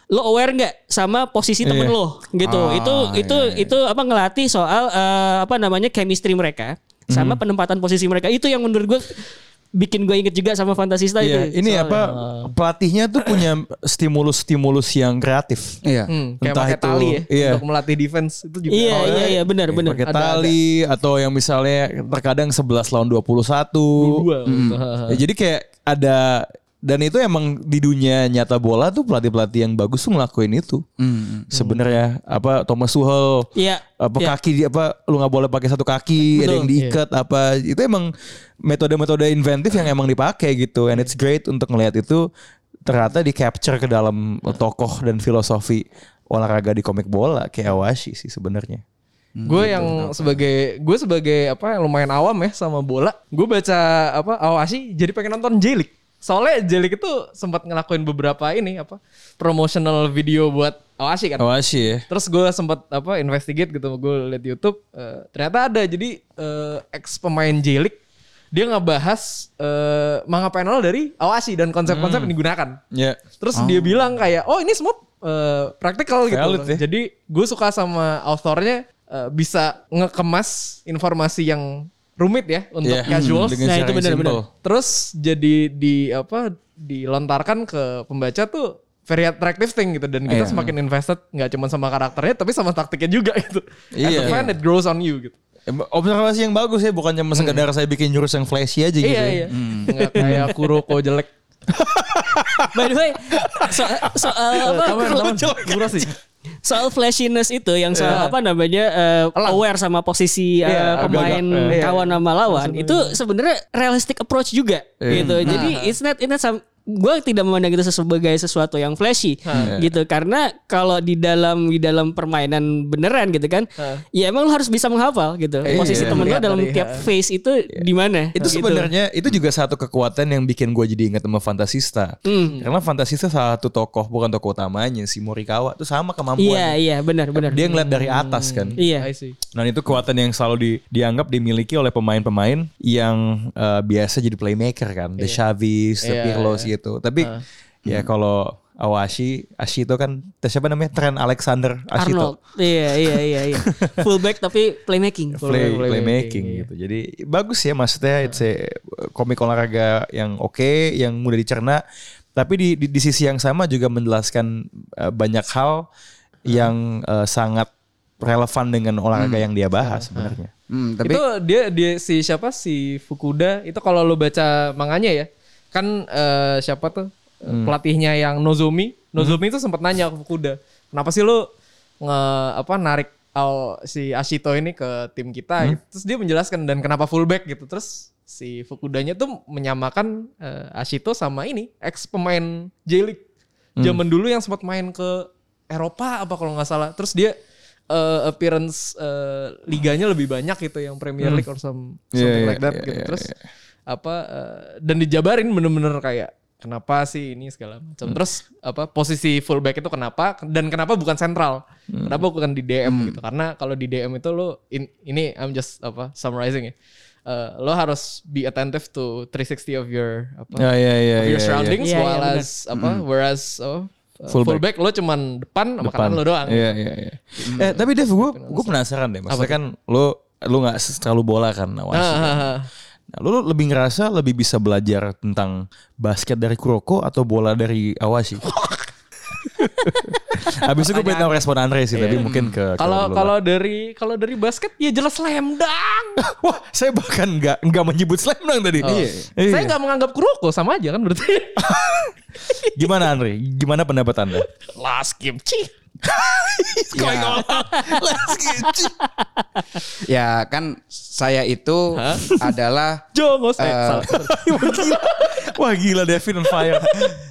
Speaker 3: lo aware nggak sama posisi temen
Speaker 1: Iya.
Speaker 3: lo gitu.
Speaker 4: Ah,
Speaker 3: itu itu
Speaker 4: iya, iya.
Speaker 3: itu apa ngelatih soal eh, apa namanya chemistry mereka sama penempatan posisi mereka itu yang menurut gue bikin gue inget juga sama Fantasista
Speaker 1: Iya,
Speaker 3: itu.
Speaker 1: ini
Speaker 3: Soalnya.
Speaker 1: apa pelatihnya tuh punya stimulus-stimulus yang kreatif.
Speaker 4: Iya.
Speaker 6: Hmm, kayak
Speaker 1: Entah
Speaker 6: pakai
Speaker 1: itu-
Speaker 6: tali ya
Speaker 1: iya.
Speaker 6: untuk melatih defense itu juga.
Speaker 3: Iya,
Speaker 6: Oh,
Speaker 3: iya, iya, benar, benar.
Speaker 1: Pakai tali atau yang misalnya terkadang 11 lawan 21.
Speaker 6: Dua. gitu.
Speaker 1: Ya, jadi kayak ada dan itu emang di dunia nyata bola tuh pelatih-pelatih yang bagus tuh ngelakuin itu.
Speaker 4: Hmm.
Speaker 1: Sebenarnya apa Thomas Tuchel
Speaker 3: Iya.
Speaker 1: apa
Speaker 3: Iya.
Speaker 1: kaki dia- apa lu nggak boleh pakai satu kaki ada yang diikat apa itu emang metode-metode inventif yang emang dipakai gitu and it's great untuk ngelihat itu ternyata di capture ke dalam tokoh dan filosofi olahraga di komik bola kayak Awashi sih sebenarnya.
Speaker 6: gue yang sebagai gue sebagai apa yang lumayan awam ya sama bola gue baca apa awasi jadi pengen nonton jelik soalnya jelik itu sempat ngelakuin beberapa ini apa promotional video buat awasi kan
Speaker 1: Awashi ya.
Speaker 6: terus gue sempat apa investigate gitu gue liat di YouTube eh, ternyata ada jadi eh, ex pemain jelik dia ngebahas eh, manga panel dari awasi dan konsep-konsep yang digunakan
Speaker 1: Ya.
Speaker 6: Terus dia bilang kayak, oh ini semua eh, praktikal gitu.
Speaker 1: Valid
Speaker 6: loh.
Speaker 1: ya.
Speaker 6: Jadi gue suka sama authornya eh, bisa ngekemas informasi yang rumit ya untuk
Speaker 1: Ya,
Speaker 6: casual.
Speaker 1: dengan Nah, cara itu yang benar-benar. simple.
Speaker 6: Terus jadi di apa dilontarkan ke pembaca tuh very attractive thing gitu dan
Speaker 4: Iya.
Speaker 6: kita semakin invested nggak cuma sama karakternya tapi sama taktiknya juga gitu. As a
Speaker 1: Iya.
Speaker 6: fan it grows on you gitu.
Speaker 1: Em- Observasi yang bagus ya bukan cuma sekedar saya bikin jurus yang flashy aja gitu.
Speaker 6: Iya
Speaker 1: ya.
Speaker 6: iya. Nggak
Speaker 1: Eh,
Speaker 6: kayak Kuroko jelek.
Speaker 3: By the way, so, soal apa?
Speaker 6: Kamu kurang sih.
Speaker 3: soal flashiness itu yang soal apa namanya eh, aware sama posisi eh,
Speaker 6: Iya,
Speaker 3: pemain
Speaker 6: agak-agak. Iya. Iya.
Speaker 3: kawan sama lawan itu sebenarnya realistic approach juga gitu
Speaker 6: Nah.
Speaker 3: jadi it's not it's not some- gua tidak memandang itu sebagai sesuatu yang flashy
Speaker 6: Nah. Iya.
Speaker 3: gitu karena kalau di dalam di dalam permainan beneran gitu kan ya emang lu harus bisa menghafal gitu posisi
Speaker 6: Nah. iya.
Speaker 3: temen lu
Speaker 6: Lihat
Speaker 3: dalam
Speaker 6: dari,
Speaker 3: tiap phase itu di mana
Speaker 1: Itu
Speaker 3: gitu.
Speaker 1: sebenarnya itu juga satu kekuatan yang bikin gue jadi ingat sama Fantasista.
Speaker 3: Hmm.
Speaker 1: Karena Fantasista salah satu tokoh bukan tokoh utamanya si Morikawa itu sama
Speaker 3: iya
Speaker 1: kemampuan.
Speaker 3: iya benar benar
Speaker 1: Dia ngeliat dari atas kan.
Speaker 3: iya
Speaker 6: I see.
Speaker 1: Dan itu kekuatan yang selalu di- dianggap dimiliki oleh pemain-pemain yang eh, biasa jadi playmaker kan. The Chavis, The
Speaker 6: Iya,
Speaker 1: Pirlos gitu. Tapi
Speaker 3: Ah.
Speaker 1: ya kalau Awashi, Ashito kan siapa namanya? Trent Alexander Ashito.
Speaker 3: Arnold iya iya iya iya fullback tapi playmaking
Speaker 1: play,
Speaker 6: Play-
Speaker 1: playmaking
Speaker 6: playmaking,
Speaker 1: gitu. Jadi bagus ya maksudnya it's a komik olahraga yang oke, yang mudah dicerna, tapi di, di di sisi yang sama juga menjelaskan eh, banyak hal yang eh, sangat relevan dengan olahraga yang dia bahas sebenarnya.
Speaker 4: Hmm, tapi
Speaker 6: itu dia dia si siapa si Fukuda itu kalau lo baca manganya ya kan eh, siapa tuh eh, pelatihnya yang Nozomi Nozomi itu sempat nanya ke Fukuda kenapa sih lo nge apa narik Al si Ashito ini ke tim kita gitu. terus dia menjelaskan dan kenapa fullback gitu terus si Fukudanya tuh menyamakan eh, Ashito sama ini ex pemain J League Hmm. zaman dulu yang sempat main ke Eropa apa kalau nggak salah terus dia eh, appearance eh, liganya lebih banyak gitu yang Premier League or some- something
Speaker 1: Hmm. Iya, iya,
Speaker 6: like that
Speaker 1: iya,
Speaker 6: gitu
Speaker 1: iya,
Speaker 6: terus apa eh, dan dijabarin bener-bener kayak kenapa sih ini segala macam
Speaker 1: Hmm.
Speaker 6: terus apa posisi fullback itu kenapa dan kenapa bukan sentral
Speaker 1: Hmm.
Speaker 6: kenapa bukan di DM gitu karena kalau di DM itu lo in- ini I'm just apa summarizing ya Eh, lo harus be attentive to 360 of your apa
Speaker 1: Ya ya ya.
Speaker 6: of
Speaker 1: ya,
Speaker 6: your
Speaker 1: ya.
Speaker 6: surroundings
Speaker 3: Iya, iya,
Speaker 6: while as apa whereas oh, uh, fullback.
Speaker 1: Fullback.
Speaker 6: lo cuman depan sama
Speaker 1: Depan.
Speaker 6: kanan lo doang.
Speaker 1: Iya iya iya. Eh tapi Dev gue gue penasaran deh. Maksudnya kan lo lo nggak terlalu bola kan awalnya.
Speaker 6: Ah, ah, ah.
Speaker 1: Nah, lo lebih ngerasa lebih bisa belajar tentang basket dari Kuroko atau bola dari Awashi? Habis itu gue pengen tahu respon Andre sih, tapi mungkin ke ke
Speaker 6: Hmm. Kalau
Speaker 1: lo
Speaker 6: kalau dari kalau dari basket ya jelas slam dunk.
Speaker 1: lah. wah saya bahkan nggak nggak menyebut slam dunk tadi. Iya, iya.
Speaker 6: Oh. Saya nggak menganggap Kuroko sama aja kan berarti.
Speaker 1: Gimana Andre? Gimana pendapat anda?
Speaker 6: Last game cih.
Speaker 4: ya kan saya itu adalah
Speaker 6: Jongos eh,
Speaker 4: Eh,
Speaker 6: salah.
Speaker 1: wah gila, wah gila Devin on fire.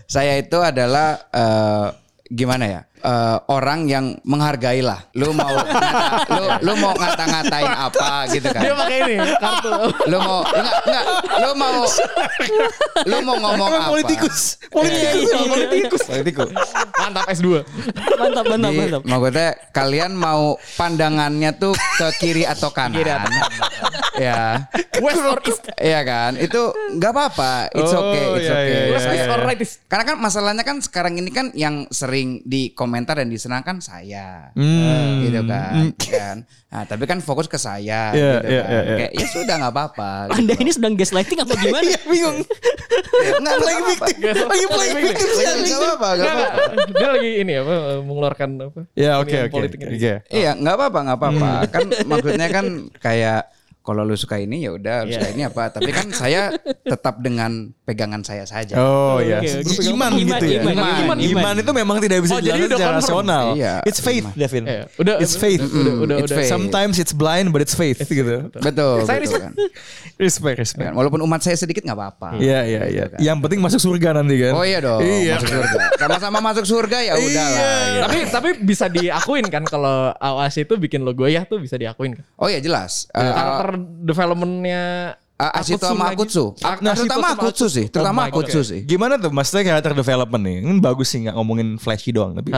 Speaker 4: saya itu adalah eh, gimana ya Eh, orang yang menghargai lah. Lu mau ngata- lu, lu mau ngata-ngatain apa gitu kan?
Speaker 6: Dia pakai ini kartu.
Speaker 4: Lu mau enggak enggak lu mau lu mau ngomong Oh, apa?
Speaker 1: politikus, politikus,
Speaker 3: Iya, iya, iya.
Speaker 1: politikus.
Speaker 4: Politikus.
Speaker 6: Mantap S2.
Speaker 3: Mantap, mantap,
Speaker 4: Jadi,
Speaker 3: mantap.
Speaker 4: maksudnya kalian mau pandangannya tuh ke kiri atau kanan. ya.
Speaker 6: West or East.
Speaker 4: Iya kan? Itu nggak apa-apa. It's
Speaker 1: Oh,
Speaker 4: okay, it's
Speaker 1: iya,
Speaker 4: okay.
Speaker 1: iya,
Speaker 6: West
Speaker 1: iya.
Speaker 6: East or right East.
Speaker 4: Karena kan masalahnya kan sekarang ini kan yang sering di komentar dan disenangkan saya.
Speaker 1: Hmm.
Speaker 4: Gitu kan. kan. Nah, tapi kan fokus ke saya
Speaker 1: Iya, iya,
Speaker 4: gitu kan.
Speaker 1: iya, iya.
Speaker 4: Kayak ya sudah nggak apa-apa. Gitu.
Speaker 3: Anda ini sedang gaslighting apa gimana?
Speaker 4: Iya.
Speaker 1: bingung.
Speaker 4: enggak playing victim.
Speaker 1: Lagi playing victim
Speaker 4: Enggak apa-apa, nggak apa-apa.
Speaker 6: Dia lagi ini apa mengeluarkan apa?
Speaker 1: Ya oke
Speaker 6: Opinion
Speaker 1: oke.
Speaker 6: politiknya.
Speaker 1: Oke.
Speaker 4: Iya, nggak apa-apa, nggak apa-apa. Kan maksudnya kan kayak kalau lu suka ini ya udah, lu suka ini apa. Tapi kan saya tetap dengan pegangan saya saja.
Speaker 1: Oh ya,
Speaker 3: oke.
Speaker 1: iman,
Speaker 3: Iman,
Speaker 1: gitu ya.
Speaker 3: iman,
Speaker 1: iman,
Speaker 3: iman, iman.
Speaker 1: itu memang tidak bisa
Speaker 6: Oh,
Speaker 1: dijelaskan
Speaker 6: jadi udah
Speaker 1: secara
Speaker 6: confirm.
Speaker 1: rasional.
Speaker 4: Iya,
Speaker 1: It's faith,
Speaker 4: iman.
Speaker 1: Devin.
Speaker 6: Iya, udah,
Speaker 1: it's faith.
Speaker 6: udah, udah,
Speaker 4: it's
Speaker 6: udah.
Speaker 4: faith.
Speaker 1: Sometimes it's blind but it's faith gitu.
Speaker 4: Betul,
Speaker 6: Saya
Speaker 4: betul
Speaker 6: respect.
Speaker 4: kan.
Speaker 1: Respect, respect.
Speaker 4: Kan, Walaupun umat saya sedikit nggak apa-apa.
Speaker 1: Iya, iya, iya. Yang penting masuk surga nanti kan.
Speaker 4: Oh iya dong, masuk surga. Sama-sama masuk surga ya udahlah. gitu.
Speaker 6: tapi tapi bisa diakuin kan kalau Awas itu bikin lo goyah tuh bisa diakuin kan.
Speaker 4: Oh iya jelas. Eh,
Speaker 6: Karakter developmentnya
Speaker 4: eh, Asito sama
Speaker 6: Akutsu
Speaker 4: Akutsu.
Speaker 6: lagi.
Speaker 4: Nah, Terutama Akutsu sih, terutama
Speaker 6: Oh my God.
Speaker 4: Akutsu sih.
Speaker 1: Gimana tuh maksudnya karakter development nih? Ini bagus sih nggak ngomongin flashy doang tapi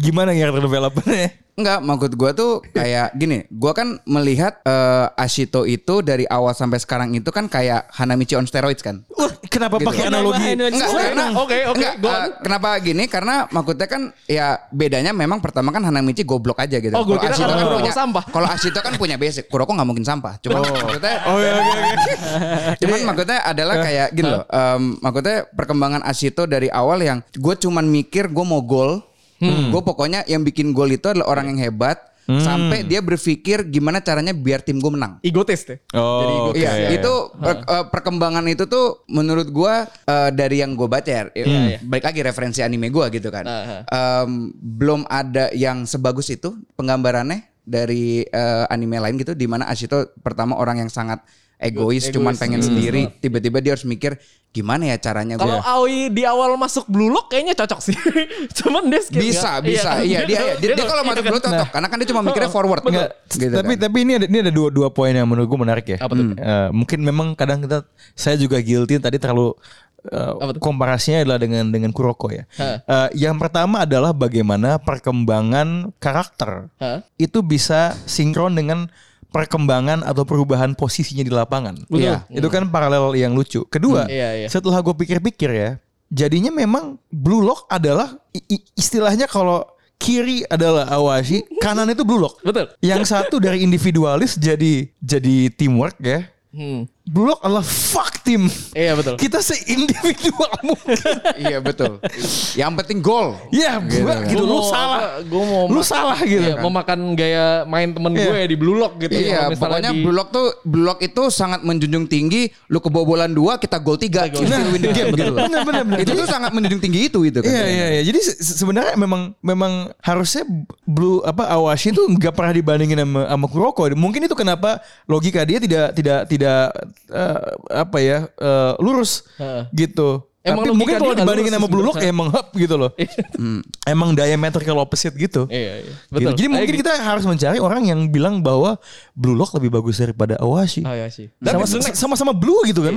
Speaker 1: gimana karakter developmentnya?
Speaker 4: Enggak, maksud gua tuh kayak gini, gua kan melihat eh, Ashito itu dari awal sampai sekarang itu kan kayak Hanamichi on steroids kan.
Speaker 1: Wah, kenapa
Speaker 4: Gitu.
Speaker 1: pakai
Speaker 3: Kenapa
Speaker 1: analogi?
Speaker 3: analogi?
Speaker 4: Enggak,
Speaker 6: Oke,
Speaker 4: karena
Speaker 6: oke, oke,
Speaker 4: enggak,
Speaker 6: go on.
Speaker 4: eh, kenapa gini? Karena maksudnya kan ya bedanya memang pertama kan Hanamichi goblok aja gitu.
Speaker 6: Oh, gua
Speaker 4: Kalau
Speaker 6: kira
Speaker 4: Ashito
Speaker 6: karena
Speaker 4: kan
Speaker 6: Kuroko
Speaker 4: punya-
Speaker 6: sampah.
Speaker 4: Kalau Ashito kan punya basic, Kuroko nggak mungkin sampah. Cuman maksudnya
Speaker 1: Oh iya, oke oke.
Speaker 4: Cuman maksudnya adalah kayak gini loh. em, maksudnya perkembangan Asito dari awal yang gue cuman mikir gue mau gol. Gue pokoknya yang bikin gol itu adalah orang yang hebat. Sampai dia berpikir gimana caranya biar tim gue menang.
Speaker 6: Egotis deh.
Speaker 1: Oh, oke.
Speaker 4: Iya, itu per- eh, perkembangan itu tuh menurut gua eh, dari yang gue baca ya, eh, balik lagi referensi anime gua gitu kan. Em, belum ada yang sebagus itu penggambarannya dari eh, anime lain gitu di mana Ashito pertama orang yang sangat egois, cuman pengen sendiri, tiba-tiba dia harus mikir gimana ya caranya
Speaker 6: Kalau
Speaker 4: gua
Speaker 6: Aoi di awal masuk Blue Lock kayaknya cocok sih. Cuman dia skill
Speaker 4: bisa,
Speaker 6: nggak-
Speaker 4: bisa.
Speaker 6: kan?
Speaker 4: Iya, dia, dia, dia,
Speaker 6: tuh-
Speaker 4: kalau
Speaker 6: itu
Speaker 4: masuk
Speaker 6: kan.
Speaker 4: dulu cocok, karena kan dia cuma mikirnya forward.
Speaker 1: Enggak,
Speaker 4: Gitu
Speaker 1: tapi
Speaker 4: kan.
Speaker 1: tapi ini ada ini ada dua dua poin yang menurut gue menarik ya. Hmm. Eh, mungkin memang kadang kita saya juga guilty tadi terlalu eh, komparasinya adalah dengan dengan Kuroko ya. Eh, yang pertama adalah bagaimana perkembangan karakter
Speaker 6: Hah?
Speaker 1: itu bisa sinkron dengan perkembangan atau perubahan posisinya di lapangan.
Speaker 4: Iya.
Speaker 1: Itu kan paralel yang lucu. Kedua,
Speaker 6: Hmm, iya, iya.
Speaker 1: setelah gue pikir-pikir ya, jadinya memang blue lock adalah i- i- istilahnya kalau kiri adalah awashi, kanan itu blue lock.
Speaker 6: Betul.
Speaker 1: Yang satu dari individualis jadi jadi teamwork ya.
Speaker 6: Hmm.
Speaker 1: Bulog adalah fuck team.
Speaker 6: Iya, betul.
Speaker 1: Kita seindividual mungkin.
Speaker 4: iya betul. Yang penting gol.
Speaker 1: Ya, gua gitu. Lu salah.
Speaker 6: Gue mau
Speaker 1: Lu
Speaker 6: ma-
Speaker 1: salah gitu.
Speaker 6: iya, mau makan gaya main temen gue di Blue Lock gitu.
Speaker 4: Iya,
Speaker 6: Kalau misalnya
Speaker 4: pokoknya
Speaker 6: di-
Speaker 4: blok tuh blok itu sangat menjunjung tinggi. Lu kebobolan dua, kita gol tiga, kita still win the game gitu. loh.
Speaker 1: Nah, iya, Bener, bener, bener.
Speaker 4: Itu tuh sangat menjunjung tinggi itu itu kan.
Speaker 1: Iya iya iya. Jadi se- sebenarnya memang memang harusnya Blue apa Awashi itu nggak pernah dibandingin sama sama Kuroko. Mungkin itu kenapa logika dia tidak tidak tidak eh, apa ya eh, lurus
Speaker 6: Heeh.
Speaker 1: gitu.
Speaker 6: Emang
Speaker 1: Tapi
Speaker 6: logika
Speaker 1: mungkin kalau
Speaker 6: dia nggak
Speaker 1: dibandingin
Speaker 6: lurus
Speaker 1: sama Blue Lock
Speaker 6: sebenarnya.
Speaker 1: emang hub gitu loh. Emang diametrical opposite gitu.
Speaker 6: Iya,
Speaker 1: Gitu.
Speaker 6: iya. Betul.
Speaker 1: Jadi mungkin kita harus mencari orang yang bilang bahwa Blue Lock lebih bagus daripada Awashi.
Speaker 6: Oh, iya sih. Dan
Speaker 1: Sama, sama sama blue gitu kan.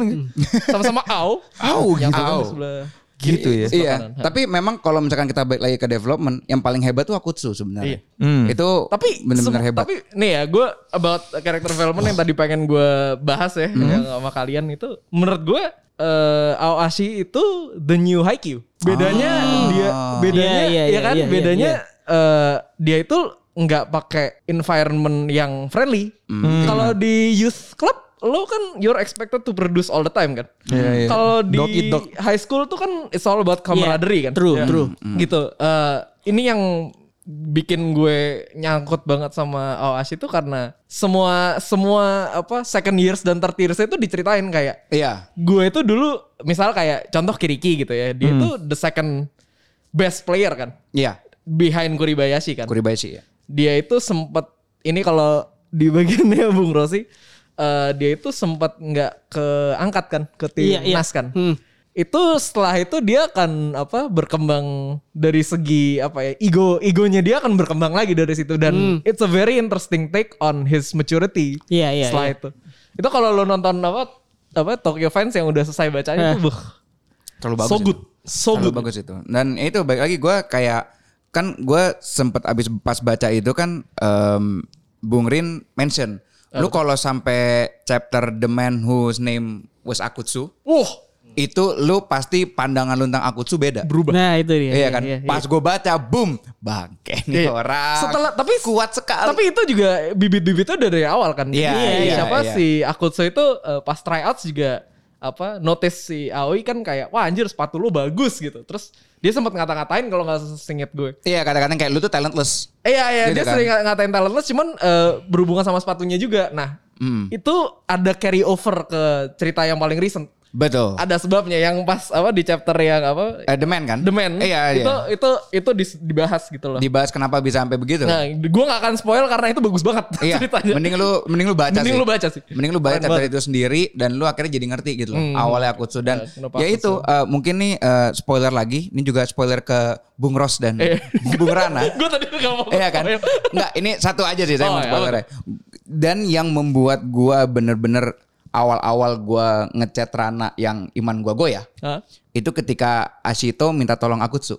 Speaker 6: sama-sama au.
Speaker 1: Au
Speaker 6: Yang
Speaker 1: gitu.
Speaker 6: satu kan
Speaker 4: Au.
Speaker 6: di sebelah.
Speaker 1: Gitu ya.
Speaker 4: Iya,
Speaker 6: Makanan.
Speaker 4: tapi memang kalau misalkan kita balik lagi ke development, yang paling hebat tuh Akutsu sebenarnya.
Speaker 6: Iya.
Speaker 1: Hmm.
Speaker 4: Itu
Speaker 6: Tapi
Speaker 4: benar-benar
Speaker 6: sem-
Speaker 4: hebat.
Speaker 6: Tapi nih ya, gue about character development yang tadi pengen gue bahas ya yang sama kalian itu, menurut gue eh Aoashi itu the new Haikyuu. Bedanya dia, bedanya
Speaker 3: Iya, iya,
Speaker 6: ya
Speaker 3: iya,
Speaker 6: kan,
Speaker 3: iya, iya,
Speaker 6: bedanya eh, dia itu nggak pakai environment yang friendly. Kalau di youth club lo kan you're expected to produce all the time kan.
Speaker 1: Iya, iya.
Speaker 6: Kalau di
Speaker 1: Dog eat dog.
Speaker 6: high school tuh kan it's all about camaraderie kan.
Speaker 3: True, true.
Speaker 6: Gitu. Eh, ini yang bikin gue nyangkut banget sama Awas itu karena semua semua apa second years dan third years itu diceritain kayak
Speaker 4: Iya.
Speaker 6: gue itu dulu misal kayak contoh Kiriki gitu ya. Dia tuh the second best player kan
Speaker 4: Iya,
Speaker 6: behind Kuribayashi kan
Speaker 4: Kuribayashi ya.
Speaker 6: dia itu sempat ini kalau di bagiannya Bung Rosi eh, dia itu sempat nggak keangkat kan ke
Speaker 3: Iya,
Speaker 6: timnas
Speaker 3: iya.
Speaker 6: kan
Speaker 3: Hmm.
Speaker 6: itu setelah itu dia akan apa berkembang dari segi apa ya ego egonya dia akan berkembang lagi dari situ dan it's a very interesting take on his maturity
Speaker 3: Hmm. Iya, iya,
Speaker 6: setelah
Speaker 3: iya.
Speaker 6: itu itu kalau lo nonton apa apa Tokyo Fans yang udah selesai bacanya itu buh,
Speaker 4: Terlalu bagus.
Speaker 6: so
Speaker 4: itu.
Speaker 6: good so
Speaker 4: Terlalu
Speaker 6: good
Speaker 4: bagus itu. Dan ya itu baik lagi gue kayak kan gue sempet abis pas baca itu kan em, Bung Rin mention lu kalau sampai chapter The Man Whose Name Was Akutsu,
Speaker 6: Wah,
Speaker 4: itu lu pasti pandangan lu tentang Akutsu beda.
Speaker 3: Nah, itu dia.
Speaker 4: Iya kan,
Speaker 3: iya.
Speaker 4: pas gue baca, boom, bangke nih
Speaker 6: Iya.
Speaker 4: orang.
Speaker 6: Setelah- tapi-
Speaker 4: Ah, kuat sekali.
Speaker 6: Tapi itu juga bibit-bibitnya udah dari awal kan.
Speaker 4: Iya,
Speaker 6: Jadi
Speaker 4: iya,
Speaker 6: Siapa
Speaker 4: iya.
Speaker 6: si Akutsu itu eh, pas tryouts juga apa notice si Aoi kan kayak wah anjir sepatu lu bagus gitu. Terus dia sempat ngata-ngatain kalau nggak singkat gue.
Speaker 4: iya kadang-kadang kayak lu tuh talentless.
Speaker 6: Eh, Iya iya
Speaker 4: Gitu
Speaker 6: dia
Speaker 4: kan.
Speaker 6: sering ngatain talentless cuman eh, berhubungan sama sepatunya juga. Nah,
Speaker 4: Hmm.
Speaker 6: itu ada carry over ke cerita yang paling recent.
Speaker 4: Betul.
Speaker 6: Ada sebabnya yang pas apa di chapter yang
Speaker 4: Oh.
Speaker 6: apa
Speaker 4: Eh, the Man kan?
Speaker 6: The Man.
Speaker 4: Iya,
Speaker 6: itu,
Speaker 4: iya.
Speaker 6: itu itu dis- dibahas gitu loh.
Speaker 4: Dibahas kenapa bisa sampai begitu.
Speaker 6: Nah, gue gak akan spoil karena itu bagus banget
Speaker 4: Iya,
Speaker 6: ceritanya.
Speaker 4: mending lu mending lu baca
Speaker 6: Mending
Speaker 4: sih.
Speaker 6: lu baca sih.
Speaker 4: Mending lu baca
Speaker 6: Keren
Speaker 4: chapter
Speaker 6: banget.
Speaker 4: itu sendiri dan lu akhirnya jadi ngerti gitu loh. Awalnya aku dan
Speaker 6: Ya, kenapa
Speaker 4: ya
Speaker 6: aku
Speaker 4: itu eh, mungkin nih eh, spoiler lagi, ini juga spoiler ke Bung Ros dan Bung Rana.
Speaker 6: gue Eh. tadi gak mau
Speaker 4: Iya kan?
Speaker 6: spoil.
Speaker 4: Enggak, ini satu aja sih saya
Speaker 6: ya. Oh,
Speaker 4: mau
Speaker 6: ya,
Speaker 4: spoilernya. Dan yang membuat gua bener-bener awal-awal gua ngechat Rana yang iman gua goyah.
Speaker 6: Hah?
Speaker 4: Itu ketika Ashito minta tolong Akutsu.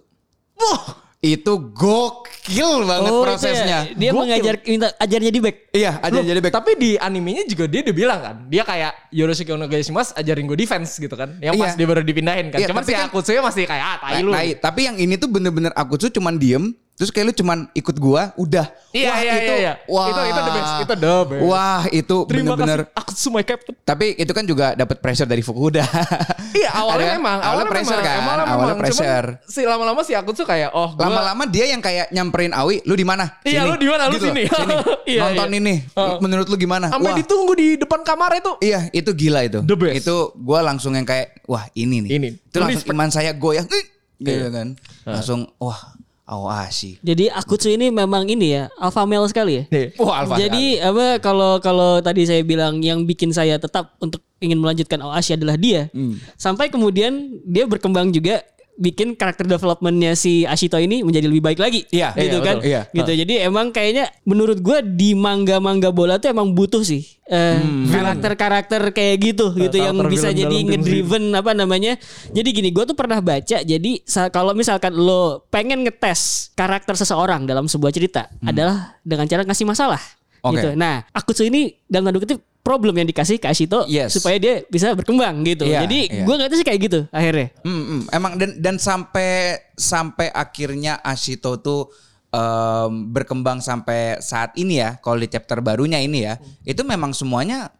Speaker 4: Wah, itu gokil banget
Speaker 3: Oh, itu ya.
Speaker 4: prosesnya.
Speaker 3: Dia
Speaker 6: Gokil.
Speaker 3: mengajar minta ajarnya di back.
Speaker 4: Iya, ada
Speaker 6: Loh,
Speaker 4: jadi back.
Speaker 6: Tapi di animenya juga dia udah bilang kan. Dia kayak Yoroshiki Onogashima ajarin gue defense gitu kan. Yang pas
Speaker 4: Iya.
Speaker 6: dia baru dipindahin kan.
Speaker 4: Iya,
Speaker 6: Cuman
Speaker 4: tapi
Speaker 6: si
Speaker 4: kan-
Speaker 6: Akutsunya masih kayak ah tai
Speaker 4: Tai,
Speaker 6: lu.
Speaker 4: tai. Nah, Tapi yang ini tuh bener-bener aku tuh cuman diem. Terus kayak lu cuman ikut gua, udah.
Speaker 6: Iya, iya, iya, iya.
Speaker 4: Wah,
Speaker 6: Itu- itu the best, itu the best.
Speaker 4: Wah, itu
Speaker 6: Terima
Speaker 4: bener-bener.
Speaker 6: kasih Akutsu my captain.
Speaker 4: Tapi itu kan juga dapat pressure dari Fukuda.
Speaker 6: Iya awalnya
Speaker 4: Ada kan?
Speaker 6: memang.
Speaker 4: Awalnya pressure
Speaker 6: memang,
Speaker 4: kan.
Speaker 6: Awalnya,
Speaker 4: Awalnya
Speaker 6: memang. Cuman
Speaker 4: pressure.
Speaker 6: si lama-lama si Akutsu kayak oh gue.
Speaker 4: Lama-lama dia yang kayak nyamperin Awi, lu di mana? Sini. Gitu
Speaker 6: Iya, lu di mana? Lu
Speaker 4: loh,
Speaker 6: sini. Iya,
Speaker 4: Nonton
Speaker 6: iya.
Speaker 4: ini.
Speaker 6: Heeh.
Speaker 4: Menurut lu gimana?
Speaker 6: Sampai
Speaker 4: Wah,
Speaker 6: ditunggu di depan kamar itu.
Speaker 4: Iya, itu gila itu.
Speaker 6: The best.
Speaker 4: Itu gua langsung yang kayak wah, ini nih.
Speaker 6: Ini. Iya. Nah.
Speaker 4: Itu langsung
Speaker 6: Respect.
Speaker 4: iman saya goyah. "Ih!" Gitu kan. Langsung wah, awasi.
Speaker 3: Jadi Akutsu ini memang ini ya, alpha male sekali ya.
Speaker 6: Oh,
Speaker 4: Wah, alfa.
Speaker 3: Jadi apa kalau kalau tadi saya bilang yang bikin saya tetap untuk ingin melanjutkan Oasis adalah dia.
Speaker 4: Hmm.
Speaker 3: Sampai kemudian dia berkembang juga bikin karakter developmentnya si Ashito ini menjadi lebih baik lagi,
Speaker 4: Iya, iya,
Speaker 3: gitu kan?
Speaker 4: betul. Iya.
Speaker 3: Gitu. Jadi emang kayaknya menurut gua di manga-manga bola tuh emang butuh sih eh,
Speaker 4: Hmm,
Speaker 3: karakter-karakter kayak gitu, gitu yang
Speaker 6: karakter
Speaker 3: bisa
Speaker 6: villain
Speaker 3: jadi
Speaker 6: dalam tim
Speaker 3: ngedriven even apa namanya. Jadi gini, gue tuh pernah baca. Jadi sa- kalau misalkan lo pengen ngetes karakter seseorang dalam sebuah cerita
Speaker 4: Hmm.
Speaker 3: adalah dengan cara ngasih masalah.
Speaker 4: Oke.
Speaker 3: Gitu. Nah, Akutsu ini dalam tanda kutip problem yang dikasih ke Ashito
Speaker 4: Yes.
Speaker 3: supaya dia bisa berkembang gitu.
Speaker 4: Iya,
Speaker 3: Jadi
Speaker 4: iya.
Speaker 3: gue nggak sih kayak gitu akhirnya.
Speaker 4: Hmm, hmm. emang dan dan sampai sampai akhirnya Ashito tuh
Speaker 6: Hmm.
Speaker 4: em, berkembang sampai saat ini ya, kalau di chapter barunya ini ya, itu memang semuanya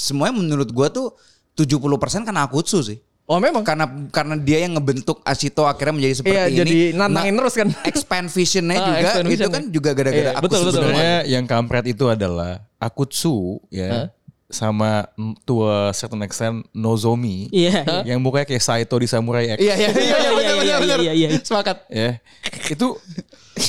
Speaker 4: semuanya menurut gua tuh 70% karena Akutsu sih.
Speaker 6: Oh memang.
Speaker 4: Karena karena dia yang ngebentuk Ashito akhirnya menjadi seperti
Speaker 6: Iya,
Speaker 4: ini. Nah,
Speaker 6: jadi nantangin terus kan.
Speaker 4: Expand visionnya
Speaker 6: Ah,
Speaker 4: juga
Speaker 6: expand
Speaker 4: itu
Speaker 6: vision.
Speaker 4: kan juga gara-gara
Speaker 6: Iya,
Speaker 4: Akutsu
Speaker 6: betul, betul.
Speaker 4: sebenarnya.
Speaker 1: Sebenarnya yang kampret itu adalah Akutsu ya sama mm, to a certain extent Nozomi
Speaker 3: Iya.
Speaker 1: yang mukanya kayak Saito di Samurai X.
Speaker 6: Iya iya iya iya
Speaker 3: Iya,
Speaker 6: benar
Speaker 3: iya,
Speaker 6: benar benar.
Speaker 3: iya, iya, iya.
Speaker 6: Sepakat.
Speaker 1: Ya. Itu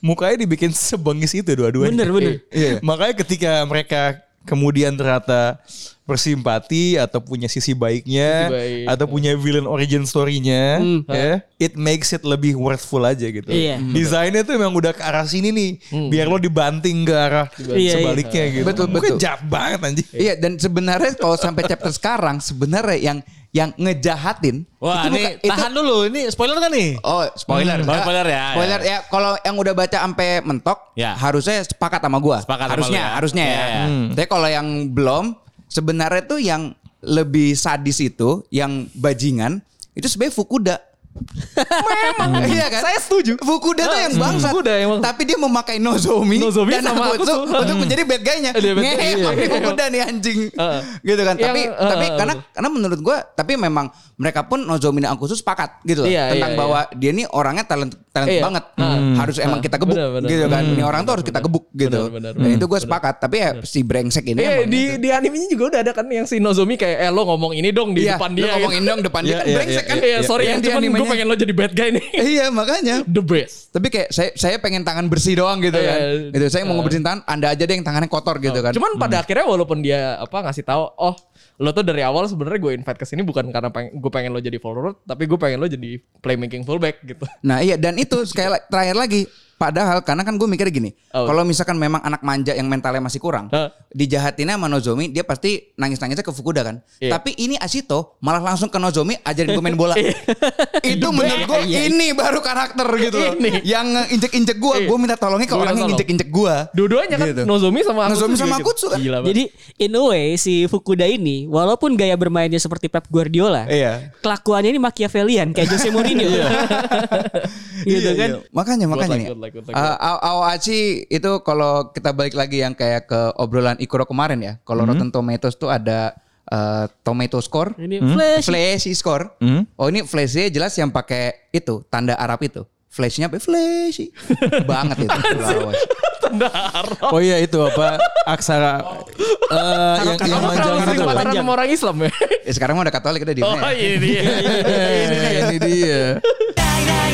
Speaker 1: mukanya dibikin sebengis itu dua-duanya.
Speaker 3: Bener bener.
Speaker 1: Iya. Makanya ketika mereka kemudian ternyata bersimpati atau punya sisi baiknya
Speaker 6: Sisi baik.
Speaker 1: atau punya villain origin story-nya ya, it makes it lebih worthwhil aja gitu.
Speaker 3: Hmm. Iya. Hmm.
Speaker 1: Desainnya tuh memang udah ke arah sini nih biar lo dibanting ke arah
Speaker 3: Iya,
Speaker 1: sebaliknya gitu.
Speaker 4: Betul,
Speaker 1: Mungkin
Speaker 4: betul.
Speaker 1: jahat banget anjing.
Speaker 4: Iya dan sebenarnya kalau sampai chapter sekarang sebenarnya yang yang ngejahatin
Speaker 5: Wah,
Speaker 4: itu
Speaker 5: ini
Speaker 4: bukan- itu-
Speaker 5: tahan dulu. Ini spoiler kan nih?
Speaker 4: Oh, spoiler.
Speaker 5: Hmm, spoiler ya,
Speaker 4: Spoiler
Speaker 5: ya.
Speaker 4: ya. Kalau yang udah baca sampai mentok,
Speaker 5: Ya.
Speaker 4: harusnya sepakat sama gua.
Speaker 5: Sepakat sama
Speaker 4: harusnya,
Speaker 5: lu ya.
Speaker 4: harusnya ya.
Speaker 5: Ya, ya.
Speaker 4: Tapi kalau yang belum, sebenarnya tuh yang lebih sadis itu, yang bajingan, itu sebenarnya Fukuda. Memang iya kan? Saya setuju. Fukuda tuh yang bangsat.
Speaker 6: Nah, hmm. Fukuda yang bangsat.
Speaker 4: Tapi dia memakai Nozomi,
Speaker 6: Nozomi
Speaker 4: dan
Speaker 6: sama
Speaker 4: Akutsu
Speaker 6: Akutsu.
Speaker 4: untuk menjadi bad guy-nya.
Speaker 6: Dia bad guy,
Speaker 4: Ngehe,
Speaker 6: iya.
Speaker 4: pakai Fukuda nih anjing.
Speaker 6: Heeh.
Speaker 4: Gitu kan.
Speaker 6: Yang-
Speaker 4: Tapi tapi
Speaker 6: heeh,
Speaker 4: karena
Speaker 6: betul.
Speaker 4: karena menurut gua tapi memang mereka pun Nozomi dan Akutsu sepakat gitu loh
Speaker 6: Iya,
Speaker 4: tentang
Speaker 6: iya,
Speaker 4: bahwa dia nih orangnya talent talent
Speaker 6: Iya.
Speaker 4: banget. Nah,
Speaker 6: Hmm.
Speaker 4: Harus emang
Speaker 6: Ah,
Speaker 4: kita gebuk
Speaker 6: benar, benar,
Speaker 4: gitu kan.
Speaker 6: benar.
Speaker 4: ini orang tuh harus kita gebuk gitu.
Speaker 6: Benar, benar,
Speaker 4: Dan
Speaker 6: benar.
Speaker 4: itu gue sepakat, tapi ya si brengsek ini
Speaker 6: Iya
Speaker 4: emang
Speaker 6: di
Speaker 4: gitu.
Speaker 6: di animenya juga udah ada kan yang si Nozomi kayak eh lo ngomong ini dong di
Speaker 4: Iya,
Speaker 6: depan
Speaker 4: lu
Speaker 6: dia. ya. gitu.
Speaker 4: ngomongin dong depan dia
Speaker 1: Iya,
Speaker 4: kan
Speaker 1: iya,
Speaker 4: brengsek kan.
Speaker 6: Iya sorry
Speaker 4: Iya,
Speaker 6: ya,
Speaker 4: di
Speaker 6: cuman gue
Speaker 4: animenya.
Speaker 6: pengen lo jadi bad guy nih.
Speaker 4: Iya, makanya.
Speaker 6: The best.
Speaker 4: Tapi kayak saya saya pengen tangan bersih doang gitu
Speaker 6: Iya,
Speaker 4: kan.
Speaker 6: iya.
Speaker 4: Gitu saya mau ngebersihin tangan, Anda aja deh yang tangannya kotor gitu kan.
Speaker 6: Cuman pada akhirnya walaupun dia apa ngasih tahu, oh lo tuh dari awal sebenarnya gue invite ke sini bukan karena peng gue pengen lo jadi forward, tapi gue pengen lo jadi playmaking fullback gitu.
Speaker 4: Nah iya dan itu sekali la- terakhir lagi padahal karena kan gue mikir gini
Speaker 6: Oh.
Speaker 4: kalau misalkan memang anak manja yang mentalnya masih kurang
Speaker 6: Hah?
Speaker 4: dijahatinnya sama Nozomi dia pasti nangis nangisnya ke Fukuda kan
Speaker 6: Iya.
Speaker 4: tapi ini Asito malah langsung ke Nozomi ajarin gue main bola itu menurut gue ini baru karakter gitu loh
Speaker 6: iya, Ini.
Speaker 4: yang injek injek gue
Speaker 6: Iya.
Speaker 4: gue minta tolongnya ke
Speaker 6: Gua
Speaker 4: orang
Speaker 6: minta
Speaker 4: yang
Speaker 6: tolong.
Speaker 4: injek injek gue
Speaker 6: Dua-duanya kan
Speaker 4: Gitu.
Speaker 6: Nozomi sama Akutsu.
Speaker 4: Nozomi sama
Speaker 6: juga gitu.
Speaker 4: Akutsu kan.
Speaker 6: Gila banget.
Speaker 3: Jadi in a way si Fukuda ini walaupun gaya bermainnya seperti Pep Guardiola,
Speaker 1: Iya.
Speaker 3: kelakuannya ini Machiavellian kayak Jose Mourinho.
Speaker 4: Iya.
Speaker 3: gitu kan.
Speaker 4: Makanya
Speaker 6: Good
Speaker 4: makanya
Speaker 6: luck,
Speaker 4: nih.
Speaker 6: good luck, good luck,
Speaker 4: Eh, Ao- Aoachi itu kalau kita balik lagi yang kayak ke obrolan Ikuro kemarin ya.
Speaker 6: Mhm.
Speaker 4: Kalau Rotten Tomatoes tuh ada eh, tomato score.
Speaker 3: Ini flash.
Speaker 4: Flashy score.
Speaker 6: Mhm.
Speaker 4: Oh ini flashnya jelas yang pakai itu tanda Arab itu. Flashnya apa? Flashy. Banget itu.
Speaker 1: Oh iya itu apa aksara eh, yang yang
Speaker 6: Kamu
Speaker 1: manjang
Speaker 6: terlalu
Speaker 1: gitu.
Speaker 6: sering
Speaker 1: loh.
Speaker 6: pacaran sama orang Islam ya? iya,
Speaker 4: Ya, sekarang mah udah Katolik udah di
Speaker 6: Oh
Speaker 4: mana ya?
Speaker 6: iya. iya.
Speaker 1: Eh, Ini dia.
Speaker 2: 大大